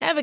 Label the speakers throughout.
Speaker 1: Ever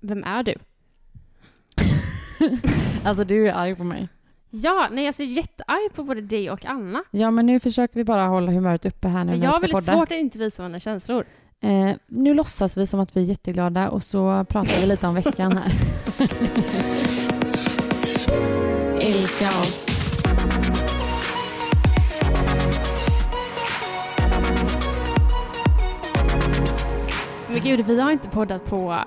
Speaker 2: Vem är du?
Speaker 3: Alltså du är arg på mig.
Speaker 2: Ja, nej jag är jättearg på både dig och Anna.
Speaker 3: Ja, men nu försöker vi bara hålla humöret uppe här nu
Speaker 2: Men
Speaker 3: när
Speaker 2: jag har
Speaker 3: vi ska
Speaker 2: väldigt
Speaker 3: podda.
Speaker 2: svårt att inte visa mina känslor.
Speaker 3: Eh, nu låtsas vi som att vi är jätteglada och så pratar vi lite om veckan här.
Speaker 4: Älska oss.
Speaker 2: Men gud, vi har inte poddat på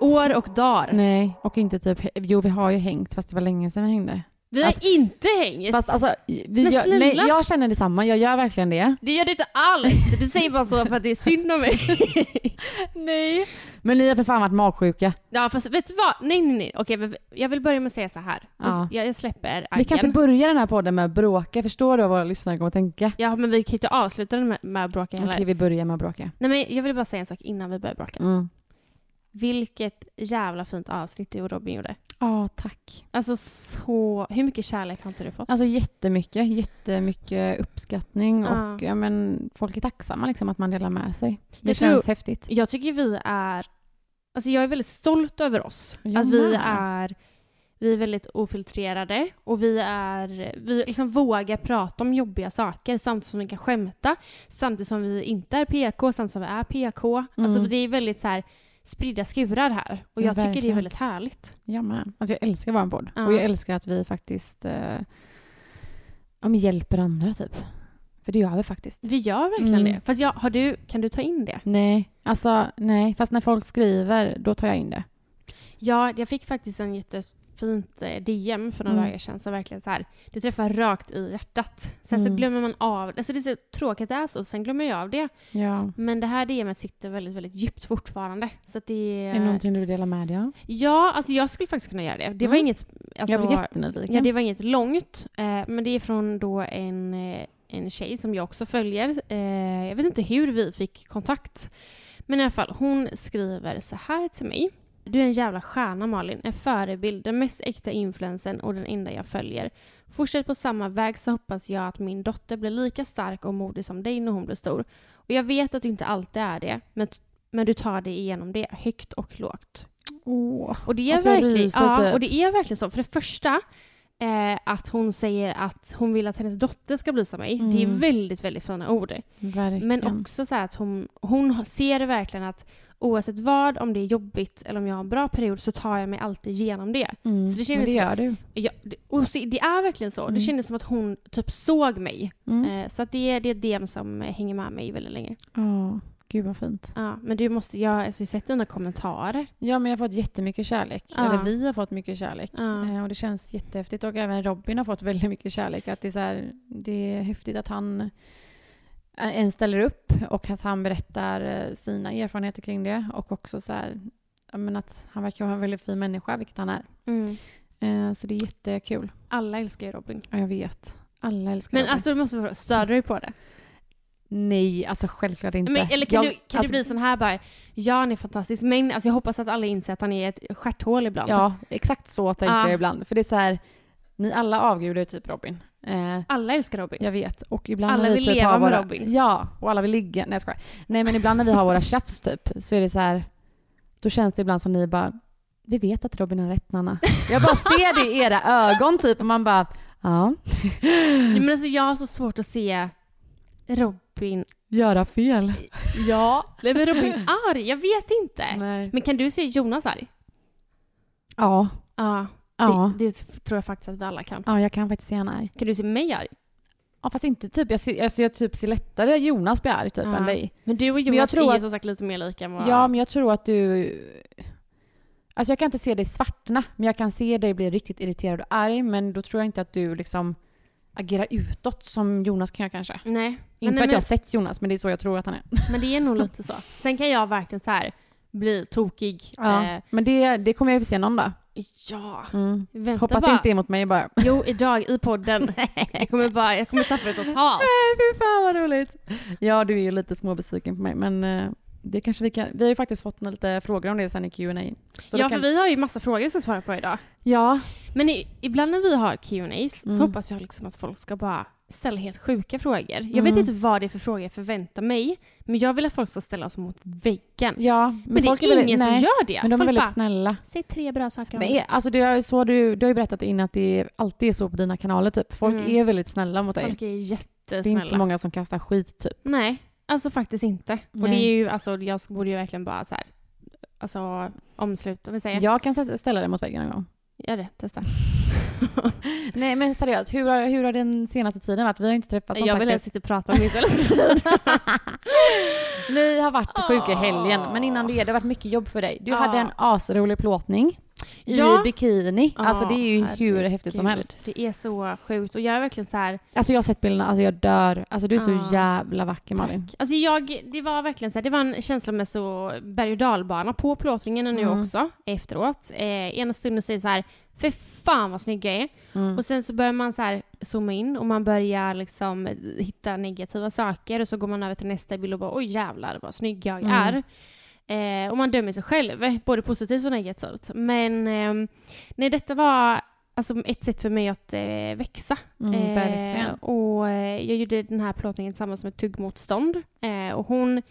Speaker 2: år och dagar.
Speaker 3: Nej, och inte typ, jo vi har ju hängt fast det var länge sedan vi hängde.
Speaker 2: Vi har
Speaker 3: Alltså-
Speaker 2: inte hängt.
Speaker 3: Fast alltså, vi
Speaker 2: Men
Speaker 3: gör,
Speaker 2: snälla.
Speaker 3: nej, jag känner detsamma, jag gör verkligen det.
Speaker 2: det gör du inte alls. Du säger bara så för att det är synd om mig.
Speaker 3: Nej. Men ni har för fan varit magsjuka.
Speaker 2: ja, fast vet du vad? Nej, nej, nej. Okej, men jag vill börja med att säga så här. Alltså,
Speaker 3: Ja.
Speaker 2: Jag, jag släpper
Speaker 3: Vi kan
Speaker 2: aggen.
Speaker 3: inte börja den här podden med att bråka, förstår du vad våra lyssnare kommer att tänka?
Speaker 2: Ja, men vi kan inte avsluta den med, med att bråka heller.
Speaker 3: Okej, vi börjar med att bråka.
Speaker 2: Nej, men jag vill bara säga en sak innan vi börjar bråka.
Speaker 3: Mm.
Speaker 2: Vilket jävla fint avsnitt du och Robin gjorde.
Speaker 3: Ja, tack.
Speaker 2: Alltså så... Hur mycket kärlek har inte du fått?
Speaker 3: Alltså jättemycket, jättemycket uppskattning
Speaker 2: Ja.
Speaker 3: och ja, men, folk är tacksamma liksom att man delar med sig. Det
Speaker 2: Jag tror-
Speaker 3: känns häftigt.
Speaker 2: Jag tycker vi är... Alltså jag är väldigt stolt över oss.
Speaker 3: Jag
Speaker 2: att vi
Speaker 3: med.
Speaker 2: är, vi är väldigt ofiltrerade och vi, är, vi liksom vågar prata om jobbiga saker samtidigt som vi kan skämta. Samtidigt som vi inte är PK, samtidigt som vi är PK. Alltså
Speaker 3: Mm.
Speaker 2: det är väldigt så här spridda skurar här. Och
Speaker 3: Ja,
Speaker 2: jag tycker det är
Speaker 3: verkligen.
Speaker 2: väldigt härligt.
Speaker 3: Jag med. Alltså jag älskar vår podd.
Speaker 2: Ja.
Speaker 3: Och jag älskar att vi faktiskt eh, ja, men hjälper andra typ. För det gör vi faktiskt.
Speaker 2: Vi gör verkligen
Speaker 3: Mm.
Speaker 2: det. Fast jag, har du, kan du ta in det?
Speaker 3: Nej, alltså nej. Fast när folk skriver, då tar jag in det.
Speaker 2: Ja, jag fick faktiskt en jättefint eh, DM för några
Speaker 3: Mm.
Speaker 2: dagar sedan som verkligen så här, det träffar rakt i hjärtat. Sen så
Speaker 3: Mm.
Speaker 2: glömmer man av, alltså det är så tråkigt att det är så, sen glömmer jag av det.
Speaker 3: Ja.
Speaker 2: Men det här DMet sitter väldigt, väldigt djupt fortfarande. Så att det...
Speaker 3: Är det någonting du vill dela med dig av?
Speaker 2: Ja, alltså jag skulle faktiskt kunna göra det. Det var
Speaker 3: Mm.
Speaker 2: inget... Alltså,
Speaker 3: jag blir jättenyfiken.
Speaker 2: Ja, det var inget långt. Eh, men det är från då en, eh, en tjej som jag också följer. Eh, jag vet inte hur vi fick kontakt. Men i alla fall, hon skriver så här till mig. Du är en jävla stjärna Malin, en förebild, den mest äkta influensen och den enda jag följer. Fortsätt på samma väg så hoppas jag att min dotter blir lika stark och modig som dig när hon blir stor. Och jag vet att du inte alltid är det, men, men du tar dig igenom det, högt och lågt.
Speaker 3: Åh.
Speaker 2: Och det, är
Speaker 3: Alltså, jag
Speaker 2: verkligen,
Speaker 3: ryser
Speaker 2: ja,
Speaker 3: typ.
Speaker 2: och det är verkligen så. För det första, eh, att hon säger att hon vill att hennes dotter ska bli som mig. Det är
Speaker 3: Mm.
Speaker 2: väldigt, väldigt fina ord.
Speaker 3: Verkligen.
Speaker 2: Men också så här att hon, hon ser verkligen att oavsett vad, om det är jobbigt eller om jag har en bra period, så tar jag mig alltid igenom det.
Speaker 3: Mm.
Speaker 2: så det
Speaker 3: Men
Speaker 2: kändes-
Speaker 3: det gör du.
Speaker 2: Jag, det, och så, det är verkligen så. Det
Speaker 3: Mm.
Speaker 2: kändes som att hon typ såg mig.
Speaker 3: Mm.
Speaker 2: Eh, så att det, är- det är det som eh, hänger med mig väldigt länge.
Speaker 3: Ja, gud vad fint.
Speaker 2: Ja, men du måste, jag har alltså, sett dina kommentarer.
Speaker 3: Ja, men jag har fått jättemycket kärlek.
Speaker 2: Ja.
Speaker 3: Eller vi har fått mycket kärlek.
Speaker 2: Ja.
Speaker 3: Eh, Och det känns jättehäftigt. Och även Robin har fått väldigt mycket kärlek. Att det, är så här, det är häftigt att han eh, ens ställer upp och att han berättar eh, sina erfarenheter kring det. Och också så här, ja, men att han verkar vara en väldigt fin människa, vilket han är. Eh, Så det är jättekul.
Speaker 2: Alla älskar ju Robin.
Speaker 3: Ja, jag vet. Alla älskar
Speaker 2: Men
Speaker 3: Robin.
Speaker 2: alltså du måste fråga, stör du dig på det?
Speaker 3: Nej, alltså självklart inte.
Speaker 2: Men, eller kan,
Speaker 3: Jag-
Speaker 2: du, kan
Speaker 3: alltså,
Speaker 2: du bli sån här bara, ja han är fantastisk, men alltså, jag hoppas att alla inser att han är ett stjärthål ibland.
Speaker 3: Ja, exakt så tänker
Speaker 2: Ja.
Speaker 3: jag ibland. För det är så här, ni alla avgudar typ Robin. Eh,
Speaker 2: Alla älskar Robin.
Speaker 3: Jag vet. Och ibland
Speaker 2: Alla
Speaker 3: när vi
Speaker 2: vill
Speaker 3: typ
Speaker 2: leva
Speaker 3: har
Speaker 2: med
Speaker 3: våra...
Speaker 2: Robin.
Speaker 3: Ja, och alla vill ligga. Nej, jag skojar. Nej, men ibland när vi har våra tjafs typ, så är det så här... Då känns det ibland som ni bara... Vi vet att Robin har rätt, Nanna. Jag bara ser det i era ögon typ och man bara... Ja.
Speaker 2: Men alltså, jag har så svårt att se Robin...
Speaker 5: Göra fel.
Speaker 2: Ja. Blev Robin arg? Jag vet inte.
Speaker 5: Nej.
Speaker 2: Men kan du se Jonas arg?
Speaker 3: Ja.
Speaker 2: Ja.
Speaker 3: Ja.
Speaker 2: Det, det tror jag faktiskt att vi alla kan.
Speaker 3: ja, jag kan Typ, faktiskt se han arg.
Speaker 2: Kan du se mig arg?
Speaker 3: Ja, fast inte typ. Jag ser, alltså, jag typ ser lättare Jonas bli arg typ
Speaker 2: Ja.
Speaker 3: än dig.
Speaker 2: Men du och
Speaker 3: jag
Speaker 2: Jonas jag
Speaker 3: tror
Speaker 2: tror är ju
Speaker 3: att-
Speaker 2: som sagt lite mer lika än vad...
Speaker 3: Ja, men jag tror att du... Alltså jag kan inte se dig svartna, men jag kan se dig bli riktigt irriterad och arg. Men då tror jag inte att du liksom agerar utåt som Jonas kan göra kanske.
Speaker 2: Nej.
Speaker 3: Inte
Speaker 2: nej,
Speaker 3: för att jag
Speaker 2: men-
Speaker 3: har sett Jonas, men det är så jag tror att han är.
Speaker 2: Men det är nog lite så. Sen kan jag verkligen så här bli tokig.
Speaker 3: Ja.
Speaker 2: Eh,
Speaker 3: Men det, det kommer jag ju se någon dag.
Speaker 2: ja.
Speaker 3: Mm.
Speaker 2: Vänta
Speaker 3: Hoppas
Speaker 2: bara.
Speaker 3: det inte är mot mig bara.
Speaker 2: Jo, idag i podden. jag kommer bara, jag kommer tappa det totalt.
Speaker 3: Nej, fy fan vad roligt. Ja, du är ju lite småbesviken på mig, men eh, det kanske vi kan... Vi har ju faktiskt fått lite frågor om det sen i Q&A. Så då
Speaker 2: ja,
Speaker 3: kan...
Speaker 2: för vi har ju massa frågor vi ska svara på idag.
Speaker 3: Ja.
Speaker 2: Men i, ibland när vi har Q&As
Speaker 3: Mm.
Speaker 2: så hoppas jag liksom att folk ska bara ställa helt sjuka frågor. Jag vet
Speaker 3: Mm.
Speaker 2: inte vad det är för frågor jag förväntar mig, men jag vill att folk ska ställa oss mot väggen.
Speaker 3: Ja,
Speaker 2: men det är, ingen som
Speaker 3: nej,
Speaker 2: gör det.
Speaker 3: Men de är
Speaker 2: folk
Speaker 3: väldigt
Speaker 2: bara,
Speaker 3: snälla.
Speaker 2: säg tre bra saker om
Speaker 3: Men
Speaker 2: mig.
Speaker 3: är, alltså det är ju så du, du har ju berättat innan att det alltid är så på dina kanaler typ. Folk
Speaker 2: Mm.
Speaker 3: är väldigt snälla mot dig.
Speaker 2: Folk är
Speaker 3: det är inte så
Speaker 2: jättesnälla.
Speaker 3: många som kastar skit typ.
Speaker 2: Nej, alltså faktiskt inte. Och det
Speaker 3: Nej.
Speaker 2: är ju, alltså jag borde ju verkligen bara så här, alltså omsluta, vad säger jag?
Speaker 3: Jag kan sätta- ställa dig mot väggen en gång.
Speaker 2: Gör det, testa.
Speaker 3: Nej men seriöst, hur har, hur har den senaste tiden varit? Vi har ju inte träffats som
Speaker 2: jag vill
Speaker 3: sagt.
Speaker 2: helst inte prata om min tid.
Speaker 3: Ni har varit sjuka i
Speaker 2: Åh.
Speaker 3: helgen, men innan det, det har varit mycket jobb för dig. Du
Speaker 2: Ja.
Speaker 3: hade en asrolig plåtning
Speaker 2: Ja.
Speaker 3: i bikini. Alltså det är ju hur
Speaker 2: Herregud.
Speaker 3: häftigt som helst.
Speaker 2: Det är så sjukt och jag är verkligen så här,
Speaker 3: Alltså jag har sett bilderna, alltså jag dör. Alltså du är så
Speaker 2: Ja.
Speaker 3: jävla vacker Malin.
Speaker 2: alltså jag, det var verkligen så här, det var en känslomässig berg och dalbana på plåtringen och nu
Speaker 3: Mm.
Speaker 2: också efteråt. Eh, ena stunden säger så här, för fan vad snygg jag är.
Speaker 3: Mm.
Speaker 2: Och sen så börjar man så här zooma in och man börjar liksom hitta negativa saker och så går man över till nästa bild och bara oj jävlar vad snygg jag
Speaker 3: Mm.
Speaker 2: är. Eh, och man dömer sig själv, både positivt och negativt. Men eh, nej, detta var alltså, ett sätt för mig att eh, växa.
Speaker 3: Mm,
Speaker 2: Eh,
Speaker 3: verkligen.
Speaker 2: och eh, jag gjorde den här plåtningen tillsammans med Tuggmotstånd. Eh, och hon,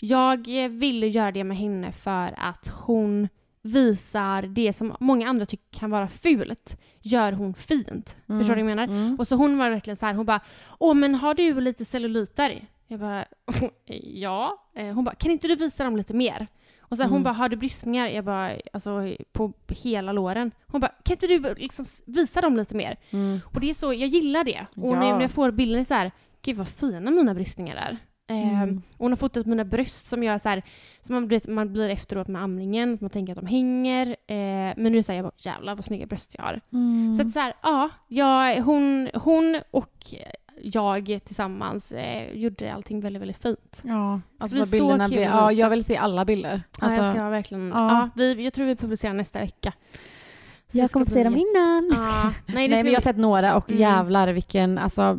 Speaker 2: jag eh, ville göra det med henne för att hon visar det som många andra tycker kan vara fult, gör hon fint.
Speaker 3: Mm.
Speaker 2: Förstår du vad jag menar?
Speaker 3: Mm.
Speaker 2: Och så hon var verkligen så här, hon bara Åh men har du lite celluliter? Jag bara Ja. Eh, Hon bara Kan inte du visa dem lite mer? Och så här, hon
Speaker 3: Mm.
Speaker 2: bara Har du bristningar? Jag bara Alltså på hela låren. Hon bara Kan inte du liksom visa dem lite mer?
Speaker 3: Mm.
Speaker 2: Och det är så, jag gillar det. Och
Speaker 3: Ja.
Speaker 2: när när jag får bilder så här, gud vad fina mina bristningar är. Ehm,
Speaker 3: Mm.
Speaker 2: och hon har fotat mina bröst som jag är så här, som man, du vet, man blir efteråt med amningen, man tänker att de hänger. Eh, men nu säger jag bara, jävlar vad snygga bröst jag har.
Speaker 3: Mm.
Speaker 2: Så att så här, ja, jag, hon, hon och jag tillsammans eh, gjorde allting väldigt, väldigt fint.
Speaker 3: Ja,
Speaker 2: blir
Speaker 3: alltså
Speaker 2: så
Speaker 3: bilderna
Speaker 2: kul
Speaker 3: blir,
Speaker 2: att
Speaker 3: ja,
Speaker 2: visa.
Speaker 3: jag vill se alla bilder. Alltså,
Speaker 2: ja, jag ska verkligen, ja.
Speaker 3: ja.
Speaker 2: vi, jag tror vi publicerar nästa vecka. Så det
Speaker 3: jag
Speaker 2: ska
Speaker 3: kommer att se
Speaker 2: bli
Speaker 3: dem innan.
Speaker 2: jätte- Ja, nej, det
Speaker 3: Nej,
Speaker 2: ska
Speaker 3: men jag har
Speaker 2: bli-
Speaker 3: sett några och
Speaker 2: Mm.
Speaker 3: jävlar vilken, alltså,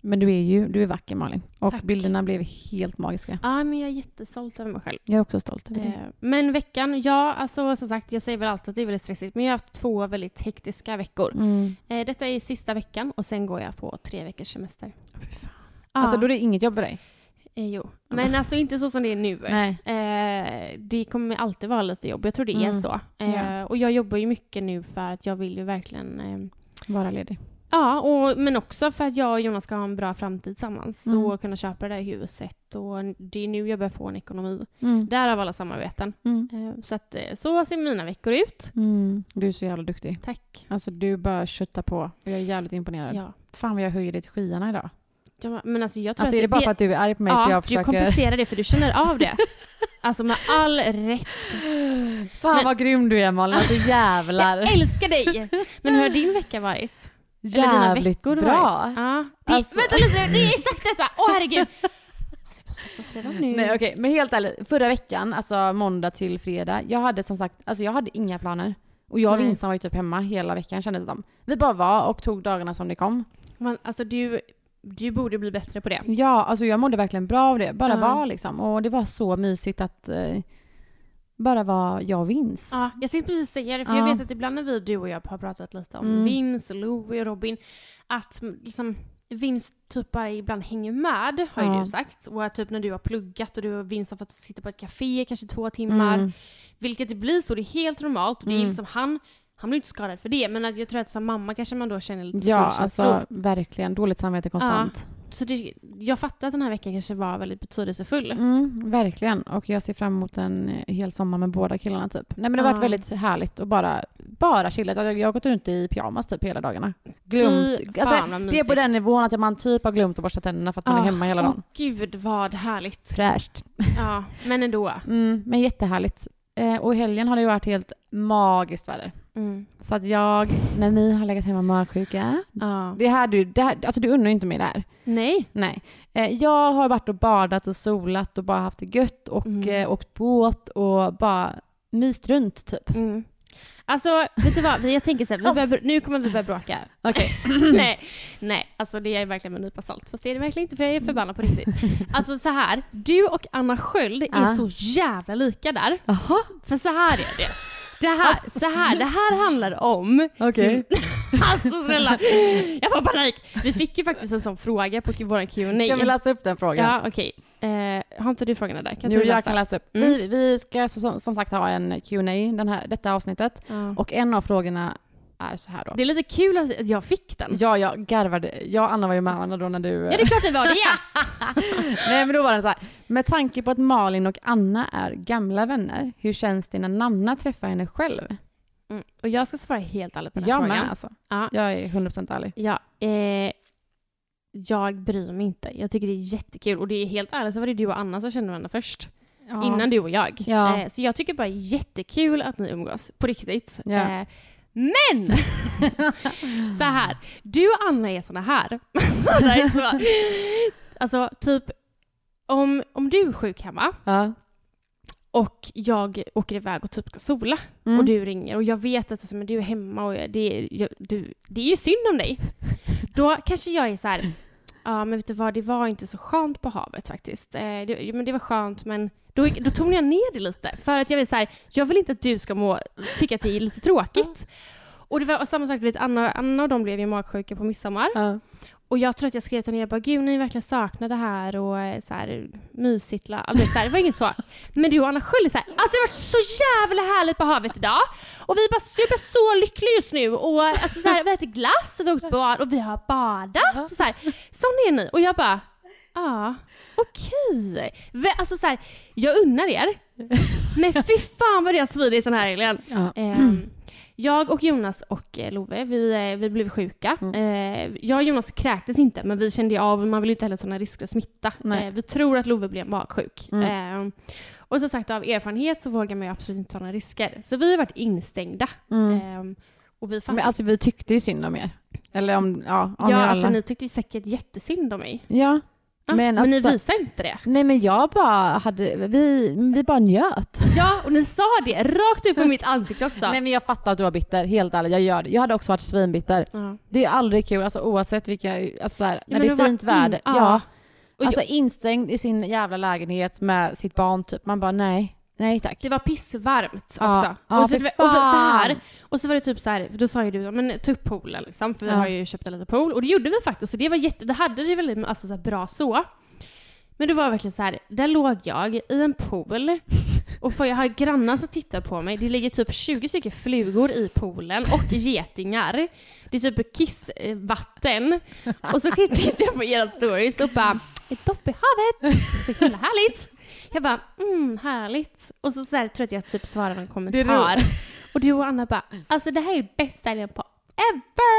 Speaker 3: men du är ju, du är vacker Malin. Och
Speaker 2: Tack.
Speaker 3: bilderna blev helt magiska.
Speaker 2: ja, men jag är jättestolt över mig själv.
Speaker 3: Jag är också stolt över det.
Speaker 2: Eh, Men veckan, ja, alltså som sagt, jag säger väl alltid att det är väldigt stressigt, men jag har haft två väldigt hektiska veckor.
Speaker 3: Mm.
Speaker 2: Eh, Detta är sista veckan och sen går jag på tre veckors semester. Ja,
Speaker 3: Alltså då är det inget jobb för dig?
Speaker 2: eh, jo. Men alltså inte så som det är nu.
Speaker 3: Nej.
Speaker 2: Eh, det kommer alltid vara lite jobb, jag tror det är
Speaker 3: Mm.
Speaker 2: så. Eh,
Speaker 3: Ja.
Speaker 2: Och jag jobbar ju mycket nu för att jag vill ju verkligen eh,
Speaker 3: Vara ledig.
Speaker 2: Ja, och, men också för att jag och Jonas ska ha en bra framtid tillsammans
Speaker 3: Mm.
Speaker 2: och kunna köpa det där huset. Och det är nu jag börjar få en ekonomi.
Speaker 3: Mm.
Speaker 2: Därav alla samarbeten.
Speaker 3: Mm.
Speaker 2: Eh, Så, att, eh, så ser mina veckor ut.
Speaker 3: Mm. Du är så jävla duktig.
Speaker 2: Tack.
Speaker 3: Alltså du bara köttar på och jag är jävligt imponerad.
Speaker 2: Ja.
Speaker 3: Fan vad jag höjer dig till skyarna idag.
Speaker 2: Ja, Men alltså jag tror
Speaker 3: Alltså
Speaker 2: att
Speaker 3: är det bara för att du är arg på mig så
Speaker 2: ja,
Speaker 3: jag
Speaker 2: du
Speaker 3: försöker...
Speaker 2: kompenserar det för du känner av det. alltså med all rätt.
Speaker 5: Fan
Speaker 2: Men-
Speaker 5: vad grym du är Malin, alltså jävlar.
Speaker 2: Jag älskar dig! Men hur har din vecka varit? Eller dina
Speaker 5: Jävligt
Speaker 2: veckor
Speaker 5: bra.
Speaker 2: Varit? Ja. Det,
Speaker 5: Alltså-
Speaker 2: Vänta lite, det är exakt detta! Åh herregud! Alltså jag måste svettas redan nu.
Speaker 3: Nej okej, men helt ärligt. Förra veckan, alltså måndag till fredag, jag hade som sagt, alltså jag hade inga planer. Och jag och
Speaker 2: Nej.
Speaker 3: Vincent var ju typ hemma hela veckan kändes det som. Vi bara var och tog dagarna som det kom.
Speaker 2: Man, alltså du, du borde bli bättre på det.
Speaker 3: Ja, alltså jag mådde verkligen bra av det. Bara
Speaker 2: Ja.
Speaker 3: var liksom. Och det var så mysigt att eh, bara vara jag och Vince.
Speaker 2: Ja, jag tänkte precis säga det, för
Speaker 3: Ja.
Speaker 2: jag vet att ibland när vi, du och jag har pratat lite om
Speaker 3: Mm.
Speaker 2: Vince, Louie och Robin, att mm, liksom, Vince typ bara ibland hänger med, har ju
Speaker 3: Ja.
Speaker 2: du sagt. Och att typ när du har pluggat och du och Vince har fått sitta på ett café kanske två timmar,
Speaker 3: Mm.
Speaker 2: vilket det blir så, det är helt normalt. Och det är
Speaker 3: Mm.
Speaker 2: liksom han, han blir inte skadad för det, men att jag tror att som mamma kanske man då känner lite
Speaker 3: Ja,
Speaker 2: skuldkänslor.
Speaker 3: alltså verkligen. Dåligt samvete konstant.
Speaker 2: Så det, jag fattar att den här veckan kanske var väldigt betydelsefull.
Speaker 3: Mm, verkligen. Och jag ser fram emot en hel sommar med båda killarna typ. Nej men det har
Speaker 2: Ja.
Speaker 3: varit väldigt härligt och bara, bara chillat. Jag, jag har gått runt i pyjamas typ hela dagarna. Glömt.
Speaker 2: Fy
Speaker 3: alltså,
Speaker 2: fan, vad
Speaker 3: det är
Speaker 2: mysigt.
Speaker 3: på den nivån att man typ har glömt att borsta tänderna för att man
Speaker 2: Ah,
Speaker 3: är hemma hela
Speaker 2: åh,
Speaker 3: dagen.
Speaker 2: gud vad härligt.
Speaker 3: Fräscht.
Speaker 2: Ja, men ändå.
Speaker 3: Mm, men jättehärligt. Eh, och i helgen har det ju varit helt magiskt väder.
Speaker 2: Mm.
Speaker 3: Så att jag, när ni har legat hemma magsjuka.
Speaker 2: Ja.
Speaker 3: Det här du, det här, alltså du undrar ju inte mig det här.
Speaker 2: Nej.
Speaker 3: Nej. Eh, jag har varit och badat och solat och bara haft det gött och
Speaker 2: Mm.
Speaker 3: eh, åkt båt och bara myst runt typ.
Speaker 2: Mm. Alltså, vet du vad? Vi- Jag tänker så här, vi börjar, nu kommer vi börja bråka.
Speaker 5: Alltså. Okej.
Speaker 2: nej, nej, alltså det är verkligen med en nypa salt. Fast det är det verkligen inte för jag är förbannad på riktigt. Alltså så här, du och Anna Sköld är
Speaker 5: Ja.
Speaker 2: så jävla lika där.
Speaker 5: Jaha, Alltså.
Speaker 2: För så här är det. Det här, så här, det här handlar om...
Speaker 3: Mm.
Speaker 5: okej.
Speaker 2: Alltså snälla, jag får panik. Vi fick ju faktiskt en sån fråga på vår Q&A.
Speaker 5: Kan vi läsa upp den frågan?
Speaker 2: Ja, okej. Eh, har inte du frågorna där? Kan
Speaker 3: Jo,
Speaker 2: inte du
Speaker 3: jag
Speaker 2: läsa?
Speaker 3: kan läsa upp.
Speaker 2: Mm.
Speaker 3: Vi, vi ska som, som sagt ha en Q&A den här, detta avsnittet.
Speaker 2: Ja.
Speaker 3: Och en av frågorna är så här då.
Speaker 2: Det är lite kul att att jag fick den.
Speaker 3: Ja, jag garvade. Jag och Anna var ju med varandra då när du... eh,
Speaker 2: Ja, det är klart det var det!
Speaker 3: Nej, men då var den så här. Med tanke på att Malin och Anna är gamla vänner, hur känns det när Nanna träffar henne själv?
Speaker 2: Mm. Och jag ska svara helt ärligt på den här
Speaker 3: Jag
Speaker 2: frågan.
Speaker 3: med alltså.
Speaker 2: Ja.
Speaker 3: Jag är 100% ärlig.
Speaker 2: Ja, eh, jag bryr mig inte. Jag tycker det är jättekul. Och det är helt ärligt så var det du och Anna som kände varandra först. Innan du och jag.
Speaker 3: Ja.
Speaker 2: Eh, så jag tycker bara det är jättekul att ni umgås. På riktigt.
Speaker 3: Ja.
Speaker 2: Eh, men! så här. Du och Anna är såna här. det här är så. Alltså typ, om, om du är sjuk hemma
Speaker 5: Ja.
Speaker 2: och jag åker iväg och typ ska sola
Speaker 3: Mm.
Speaker 2: och du ringer och jag vet att alltså, men du är hemma och jag- det är, jag, du, det är ju synd om dig. Då kanske jag är så här, ja men vet du vad, det var inte så skönt på havet faktiskt. Eh, det, jo, men det var skönt men då, då tonar jag ner det lite för att jag vill så här, jag vill inte att du ska må, tycka att det är lite tråkigt. Och det var och samma sak, du vet Anna, Anna och de blev ju magsjuka på midsommar.
Speaker 5: Ja.
Speaker 2: Och jag tror att jag skrev till henne, jag bara gud ni verkligen saknar det här och eh, så här, mysigt. la- Alltså, så här, det var inget så. Men du och Anna Sköld är så här, alltså det har varit så jävla härligt på havet idag. Och vi är bara super så lyckliga just nu. Och alltså, så här, vi har ätit glass och vi har åkt bad och vi har badat. Så här, sån är ni. Och jag bara, ja okej. Vi- Alltså så här, jag unnar er. Men fy fan vad det har svidit den här helgen.
Speaker 3: Ja.
Speaker 2: Ehm, jag och Jonas och eh, Love, vi, eh, vi blev sjuka.
Speaker 3: Mm.
Speaker 2: Eh, jag och Jonas kräktes inte, men vi kände ju av, man vill ju inte heller ta några risker att smitta.
Speaker 3: Nej.
Speaker 2: Eh, vi tror att Love blev magsjuk.
Speaker 3: Mm.
Speaker 2: Ehm, och som sagt, av erfarenhet så vågar man ju absolut inte ta några risker. Så vi har varit instängda.
Speaker 3: Mm.
Speaker 2: Ehm, och vi
Speaker 3: Men
Speaker 2: fattar.
Speaker 3: alltså vi tyckte ju synd om er. Eller om, ja, om
Speaker 2: ja,
Speaker 3: er alla.
Speaker 2: alltså, ni tyckte ju säkert jättesynd om mig.
Speaker 3: Ja.
Speaker 2: Ja, men,
Speaker 3: Men alltså-
Speaker 2: ni visar inte det.
Speaker 3: Nej men jag bara hade, vi, vi bara njöt.
Speaker 2: Ja, och ni sa det rakt upp i mitt ansikte också.
Speaker 3: Nej men jag fattar att du var bitter, helt ärligt. Jag gör det. Jag hade också varit svinbitter.
Speaker 2: ja.
Speaker 3: Det är aldrig kul, alltså oavsett vilka, alltså, så här,
Speaker 2: Ja,
Speaker 3: när det
Speaker 2: men det var
Speaker 3: är fint
Speaker 2: in-
Speaker 3: väder.
Speaker 2: ja.
Speaker 3: Ja.
Speaker 2: Och jag-
Speaker 3: Alltså instängd i sin jävla lägenhet med sitt barn typ. Man bara nej, nej tack.
Speaker 2: Det var pissvarmt
Speaker 3: Ja.
Speaker 2: också.
Speaker 3: Ja,
Speaker 2: och, så,
Speaker 3: fy
Speaker 2: och, så här,
Speaker 3: fan.
Speaker 2: och så var det typ så här, då sa ju du men ta upp poolen liksom, för vi
Speaker 3: Ja.
Speaker 2: har ju köpt en liten pool. Och det gjorde vi faktiskt, och det var jätte, vi hade det väldigt alltså, så här, bra så. Men det var verkligen så här, där låg jag i en pool och för jag har grannar som tittar på mig. Det ligger typ 20 stycken flugor i poolen och getingar. Det är typ kissvatten. Och så tittar jag på era stories och bara, ett dopp i havet. Så himla härligt. Jag bara, mm, härligt. Och så, så här, tror jag att jag typ svarar någon
Speaker 5: är
Speaker 2: kommentar. Och du och Anna bara, alltså det här är bästa helgen på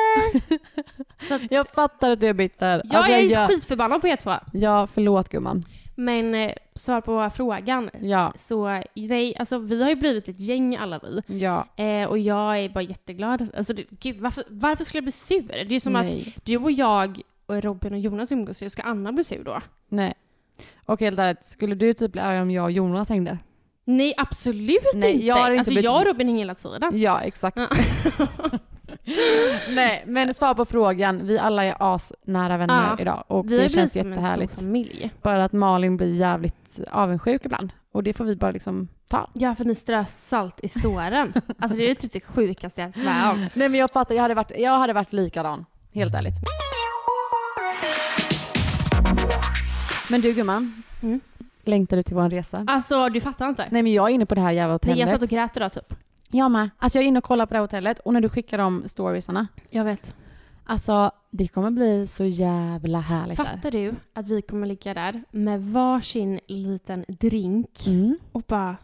Speaker 2: ever.
Speaker 5: Jag fattar att du är bitter.
Speaker 2: Jag
Speaker 5: Alltså,
Speaker 2: är
Speaker 5: jag-
Speaker 2: skitförbannad på er två.
Speaker 3: Ja förlåt gumman.
Speaker 2: Men eh, svar på frågan.
Speaker 3: Ja.
Speaker 2: Så nej, alltså vi har ju blivit ett gäng alla vi.
Speaker 3: Ja.
Speaker 2: Eh, och jag är bara jätteglad. Alltså, det, gud, varför, varför skulle jag bli sur? Det är ju som
Speaker 3: Nej.
Speaker 2: att du och jag, och Robin och Jonas umgås, så jag ska Anna bli sur då?
Speaker 3: Nej. Och helt ärligt, skulle du typ bli arg om jag och Jonas hängde?
Speaker 2: Nej, absolut
Speaker 3: Nej,
Speaker 2: inte.
Speaker 3: jag har inte
Speaker 2: alltså,
Speaker 3: blivit-
Speaker 2: jag och Robin hänger hela tiden.
Speaker 3: Ja, exakt.
Speaker 2: Ja.
Speaker 3: Nej, men svar på frågan. Vi alla är asnära vänner
Speaker 2: Ja.
Speaker 3: idag och
Speaker 2: Vi har
Speaker 3: det
Speaker 2: blivit
Speaker 3: känns
Speaker 2: som en
Speaker 3: jättehärligt.
Speaker 2: stor familj.
Speaker 3: Bara att Malin blir jävligt avundsjuk ibland och det får vi bara liksom ta.
Speaker 2: Ja, för ni strör salt i såren. alltså det är typ det sjukaste jag varit med om.
Speaker 3: Nej men jag fattar, jag hade varit, jag hade varit likadan. Helt ärligt. Men du gumman,
Speaker 2: Mm.
Speaker 3: längtar du till vår resa?
Speaker 2: Alltså du fattar inte.
Speaker 3: Nej men jag är inne på det här jävla
Speaker 2: Nej,
Speaker 3: hotellet.
Speaker 2: jag satt och grät idag typ.
Speaker 3: Jag med. Alltså jag är inne och kollar på det här hotellet och när du skickar de storiesarna.
Speaker 2: Jag vet.
Speaker 3: Alltså Det kommer bli så jävla härligt där.
Speaker 2: Fattar du att vi kommer ligga där med varsin liten drink
Speaker 3: Mm.
Speaker 2: och bara...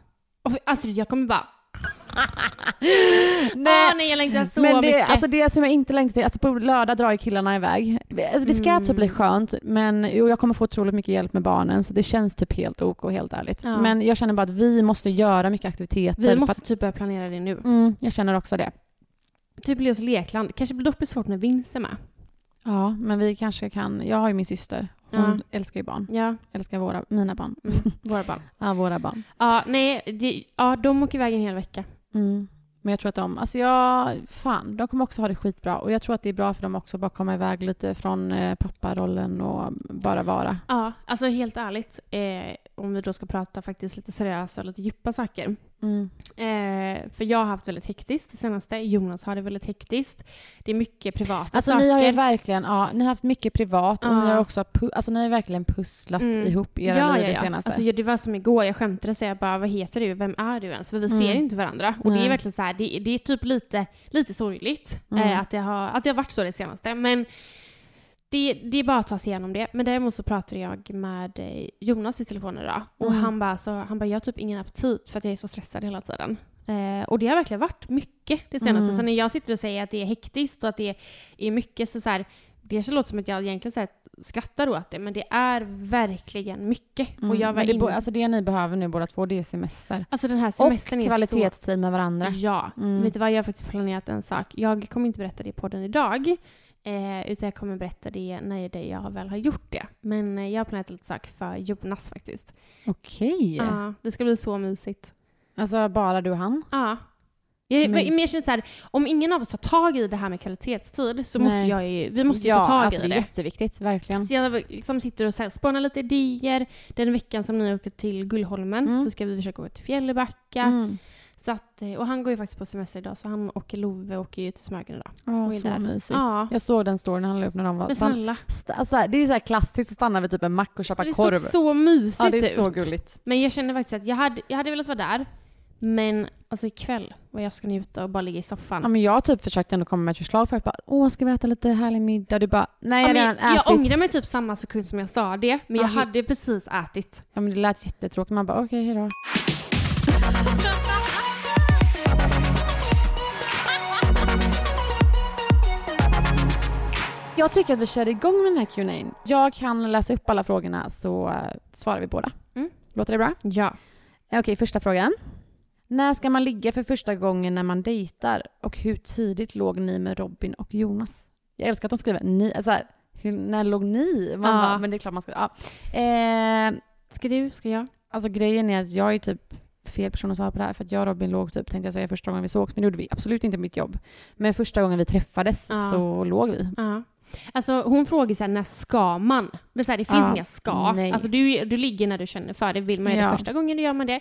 Speaker 2: Och Astrid, jag kommer bara... Nej,
Speaker 3: Nej,
Speaker 2: nej jag längtar så
Speaker 3: men det,
Speaker 2: mycket.
Speaker 3: alltså det som jag inte längtar till, alltså på lördag drar ju killarna iväg. Alltså det ska
Speaker 2: Mm.
Speaker 3: typ bli skönt, men jo, jag kommer få otroligt mycket hjälp med barnen så det känns typ helt ok, helt ärligt.
Speaker 2: Ja.
Speaker 3: Men jag känner bara att vi måste göra mycket aktiviteter.
Speaker 2: vi
Speaker 3: för
Speaker 2: måste
Speaker 3: Att,
Speaker 2: typ börja planera det nu.
Speaker 3: mm, jag känner också det.
Speaker 2: Typ Leos lekland. Kanske blir dock blir svårt när Vince är med.
Speaker 3: Ja, men vi kanske kan, jag har ju min syster, hon älskar ju barn.
Speaker 2: Ja, Mm.
Speaker 3: Älskar våra, mina barn.
Speaker 2: våra barn.
Speaker 3: Ja, våra barn.
Speaker 2: Ja, nej, det, ja, de åker iväg en hel vecka.
Speaker 3: Mm. Men jag tror att de, alltså jag, fan, de kommer också ha det skitbra. Och jag tror att det är bra för dem också att bara komma iväg lite från eh, papparollen och bara vara.
Speaker 2: Ja, alltså helt ärligt, eh, om vi då ska prata faktiskt lite seriösa och lite djupa saker.
Speaker 3: Mm.
Speaker 2: Eh, för jag har haft väldigt hektiskt det senaste. Jonas har det väldigt hektiskt. Det är mycket privata
Speaker 3: Alltså
Speaker 2: saker.
Speaker 3: ni har ju verkligen, ja, ni har haft mycket privat och
Speaker 2: Ja.
Speaker 3: ni har också, pu- alltså ni har ju verkligen pusslat
Speaker 2: Mm.
Speaker 3: ihop era
Speaker 2: ja,
Speaker 3: liv
Speaker 2: ja,
Speaker 3: det
Speaker 2: ja.
Speaker 3: senaste.
Speaker 2: Alltså, ja, det var som igår, jag skämtade så jag bara, vad heter du? Vem är du ens? För vi ser
Speaker 3: Mm.
Speaker 2: inte varandra. Och det
Speaker 3: Nej.
Speaker 2: är verkligen så här, det, det är typ lite, lite sorgligt
Speaker 3: Mm.
Speaker 2: eh, att, det har, att det har varit så det senaste. Men det, det är bara att ta sig igenom det. Men däremot så pratade jag med eh, Jonas i telefon idag. Och
Speaker 3: Mm.
Speaker 2: han bara, så, han bara, jag har typ ingen aptit för att jag är så stressad hela tiden. Eh, och det har verkligen varit mycket det senaste.
Speaker 3: Mm.
Speaker 2: Så när jag sitter och säger att det är hektiskt och att det är mycket så, så här, det kanske låter som att jag egentligen så här, skrattar åt det, men det är verkligen mycket.
Speaker 3: Mm.
Speaker 2: Och jag var
Speaker 3: Men det, bo-
Speaker 2: inne,
Speaker 3: alltså det ni behöver nu båda två, det är semester.
Speaker 2: alltså den här
Speaker 3: Och
Speaker 2: semestern är
Speaker 3: kvalitetstid med varandra.
Speaker 2: så... Ja.
Speaker 3: Mm.
Speaker 2: Vet du vad, jag har faktiskt planerat en sak. Jag kommer inte berätta det i podden idag, eh, utan jag kommer berätta det när det jag väl har gjort det. Men eh, jag har planerat lite sak för Jonas faktiskt.
Speaker 3: Okej.
Speaker 2: Ja, det ska bli så mysigt.
Speaker 3: Alltså bara du och han.
Speaker 2: Ja. Jag,
Speaker 3: Men-
Speaker 2: men jag känner så här, om ingen av oss tar tag i det här med kvalitetstid så
Speaker 3: Nej.
Speaker 2: måste jag ju, vi måste ju
Speaker 3: ja,
Speaker 2: ta tag
Speaker 3: alltså
Speaker 2: i
Speaker 3: det
Speaker 2: det.
Speaker 3: är jätteviktigt, verkligen.
Speaker 2: Så jag liksom sitter och så här spånar lite idéer. Den veckan som ni åker till Gullholmen
Speaker 3: Mm.
Speaker 2: så ska vi försöka gå till Fjällbacka.
Speaker 3: Mm.
Speaker 2: Så att, eh, och han går ju faktiskt på semester idag så han och Love åker ju till Smögen idag.
Speaker 3: Ja,
Speaker 2: Och är
Speaker 3: så
Speaker 2: där.
Speaker 3: mysigt.
Speaker 2: Ja.
Speaker 3: Jag såg den storyn han la upp när de var...
Speaker 2: Men
Speaker 3: Stan,
Speaker 2: snälla,
Speaker 3: st- alltså, det är ju så här klassiskt att stanna vid typ en mack och köpa
Speaker 2: det
Speaker 3: korv.
Speaker 2: såg så mysigt
Speaker 3: ja, det är
Speaker 2: ut.
Speaker 3: så gulligt.
Speaker 2: Men jag känner faktiskt att jag hade, jag hade velat vara där. Men alltså ikväll, vad jag ska njuta och bara ligga i soffan.
Speaker 3: Ja, men jag har typ försökt ändå komma med ett förslag för att bara, åh, ska vi äta lite härlig middag? Du bara, nej,
Speaker 2: Ja,
Speaker 3: jag
Speaker 2: men
Speaker 3: har
Speaker 2: jag,
Speaker 3: redan ätit.
Speaker 2: jag ångrar mig typ samma sekund som jag sa det, men jag
Speaker 3: Ja, hur-
Speaker 2: hade precis ätit.
Speaker 3: Ja, men det lät jättetråkigt. Man bara, okej, hejdå. Jag tycker att vi kör igång med den här Q&A. Jag kan läsa upp alla frågorna så eh, svarar vi båda.
Speaker 2: Mm.
Speaker 3: Låter det bra?
Speaker 2: Ja.
Speaker 3: Eh, Okej, första frågan. När ska man ligga för första gången när man dejtar? Och hur tidigt låg ni med Robin och Jonas? Jag älskar att de skriver ni. Alltså här, hur, när låg ni? Man
Speaker 2: Ja.
Speaker 3: bara, men det är klart man ska. Ja. Eh,
Speaker 2: Ska du? Ska jag?
Speaker 3: Alltså grejen är att jag är typ fel person att svara på det här för att jag och Robin låg typ, tänkte jag säga, första gången vi sågs, men det gjorde vi absolut inte på mitt jobb. Men första gången vi träffades
Speaker 2: Ja.
Speaker 3: så låg vi.
Speaker 2: Ja. Alltså hon frågar så här, när ska man? Det, är så här, det finns
Speaker 3: Ja.
Speaker 2: inga ska.
Speaker 3: Nej.
Speaker 2: Alltså du, du ligger när du känner för det. Vill man göra
Speaker 3: Ja.
Speaker 2: det första gången då gör man det.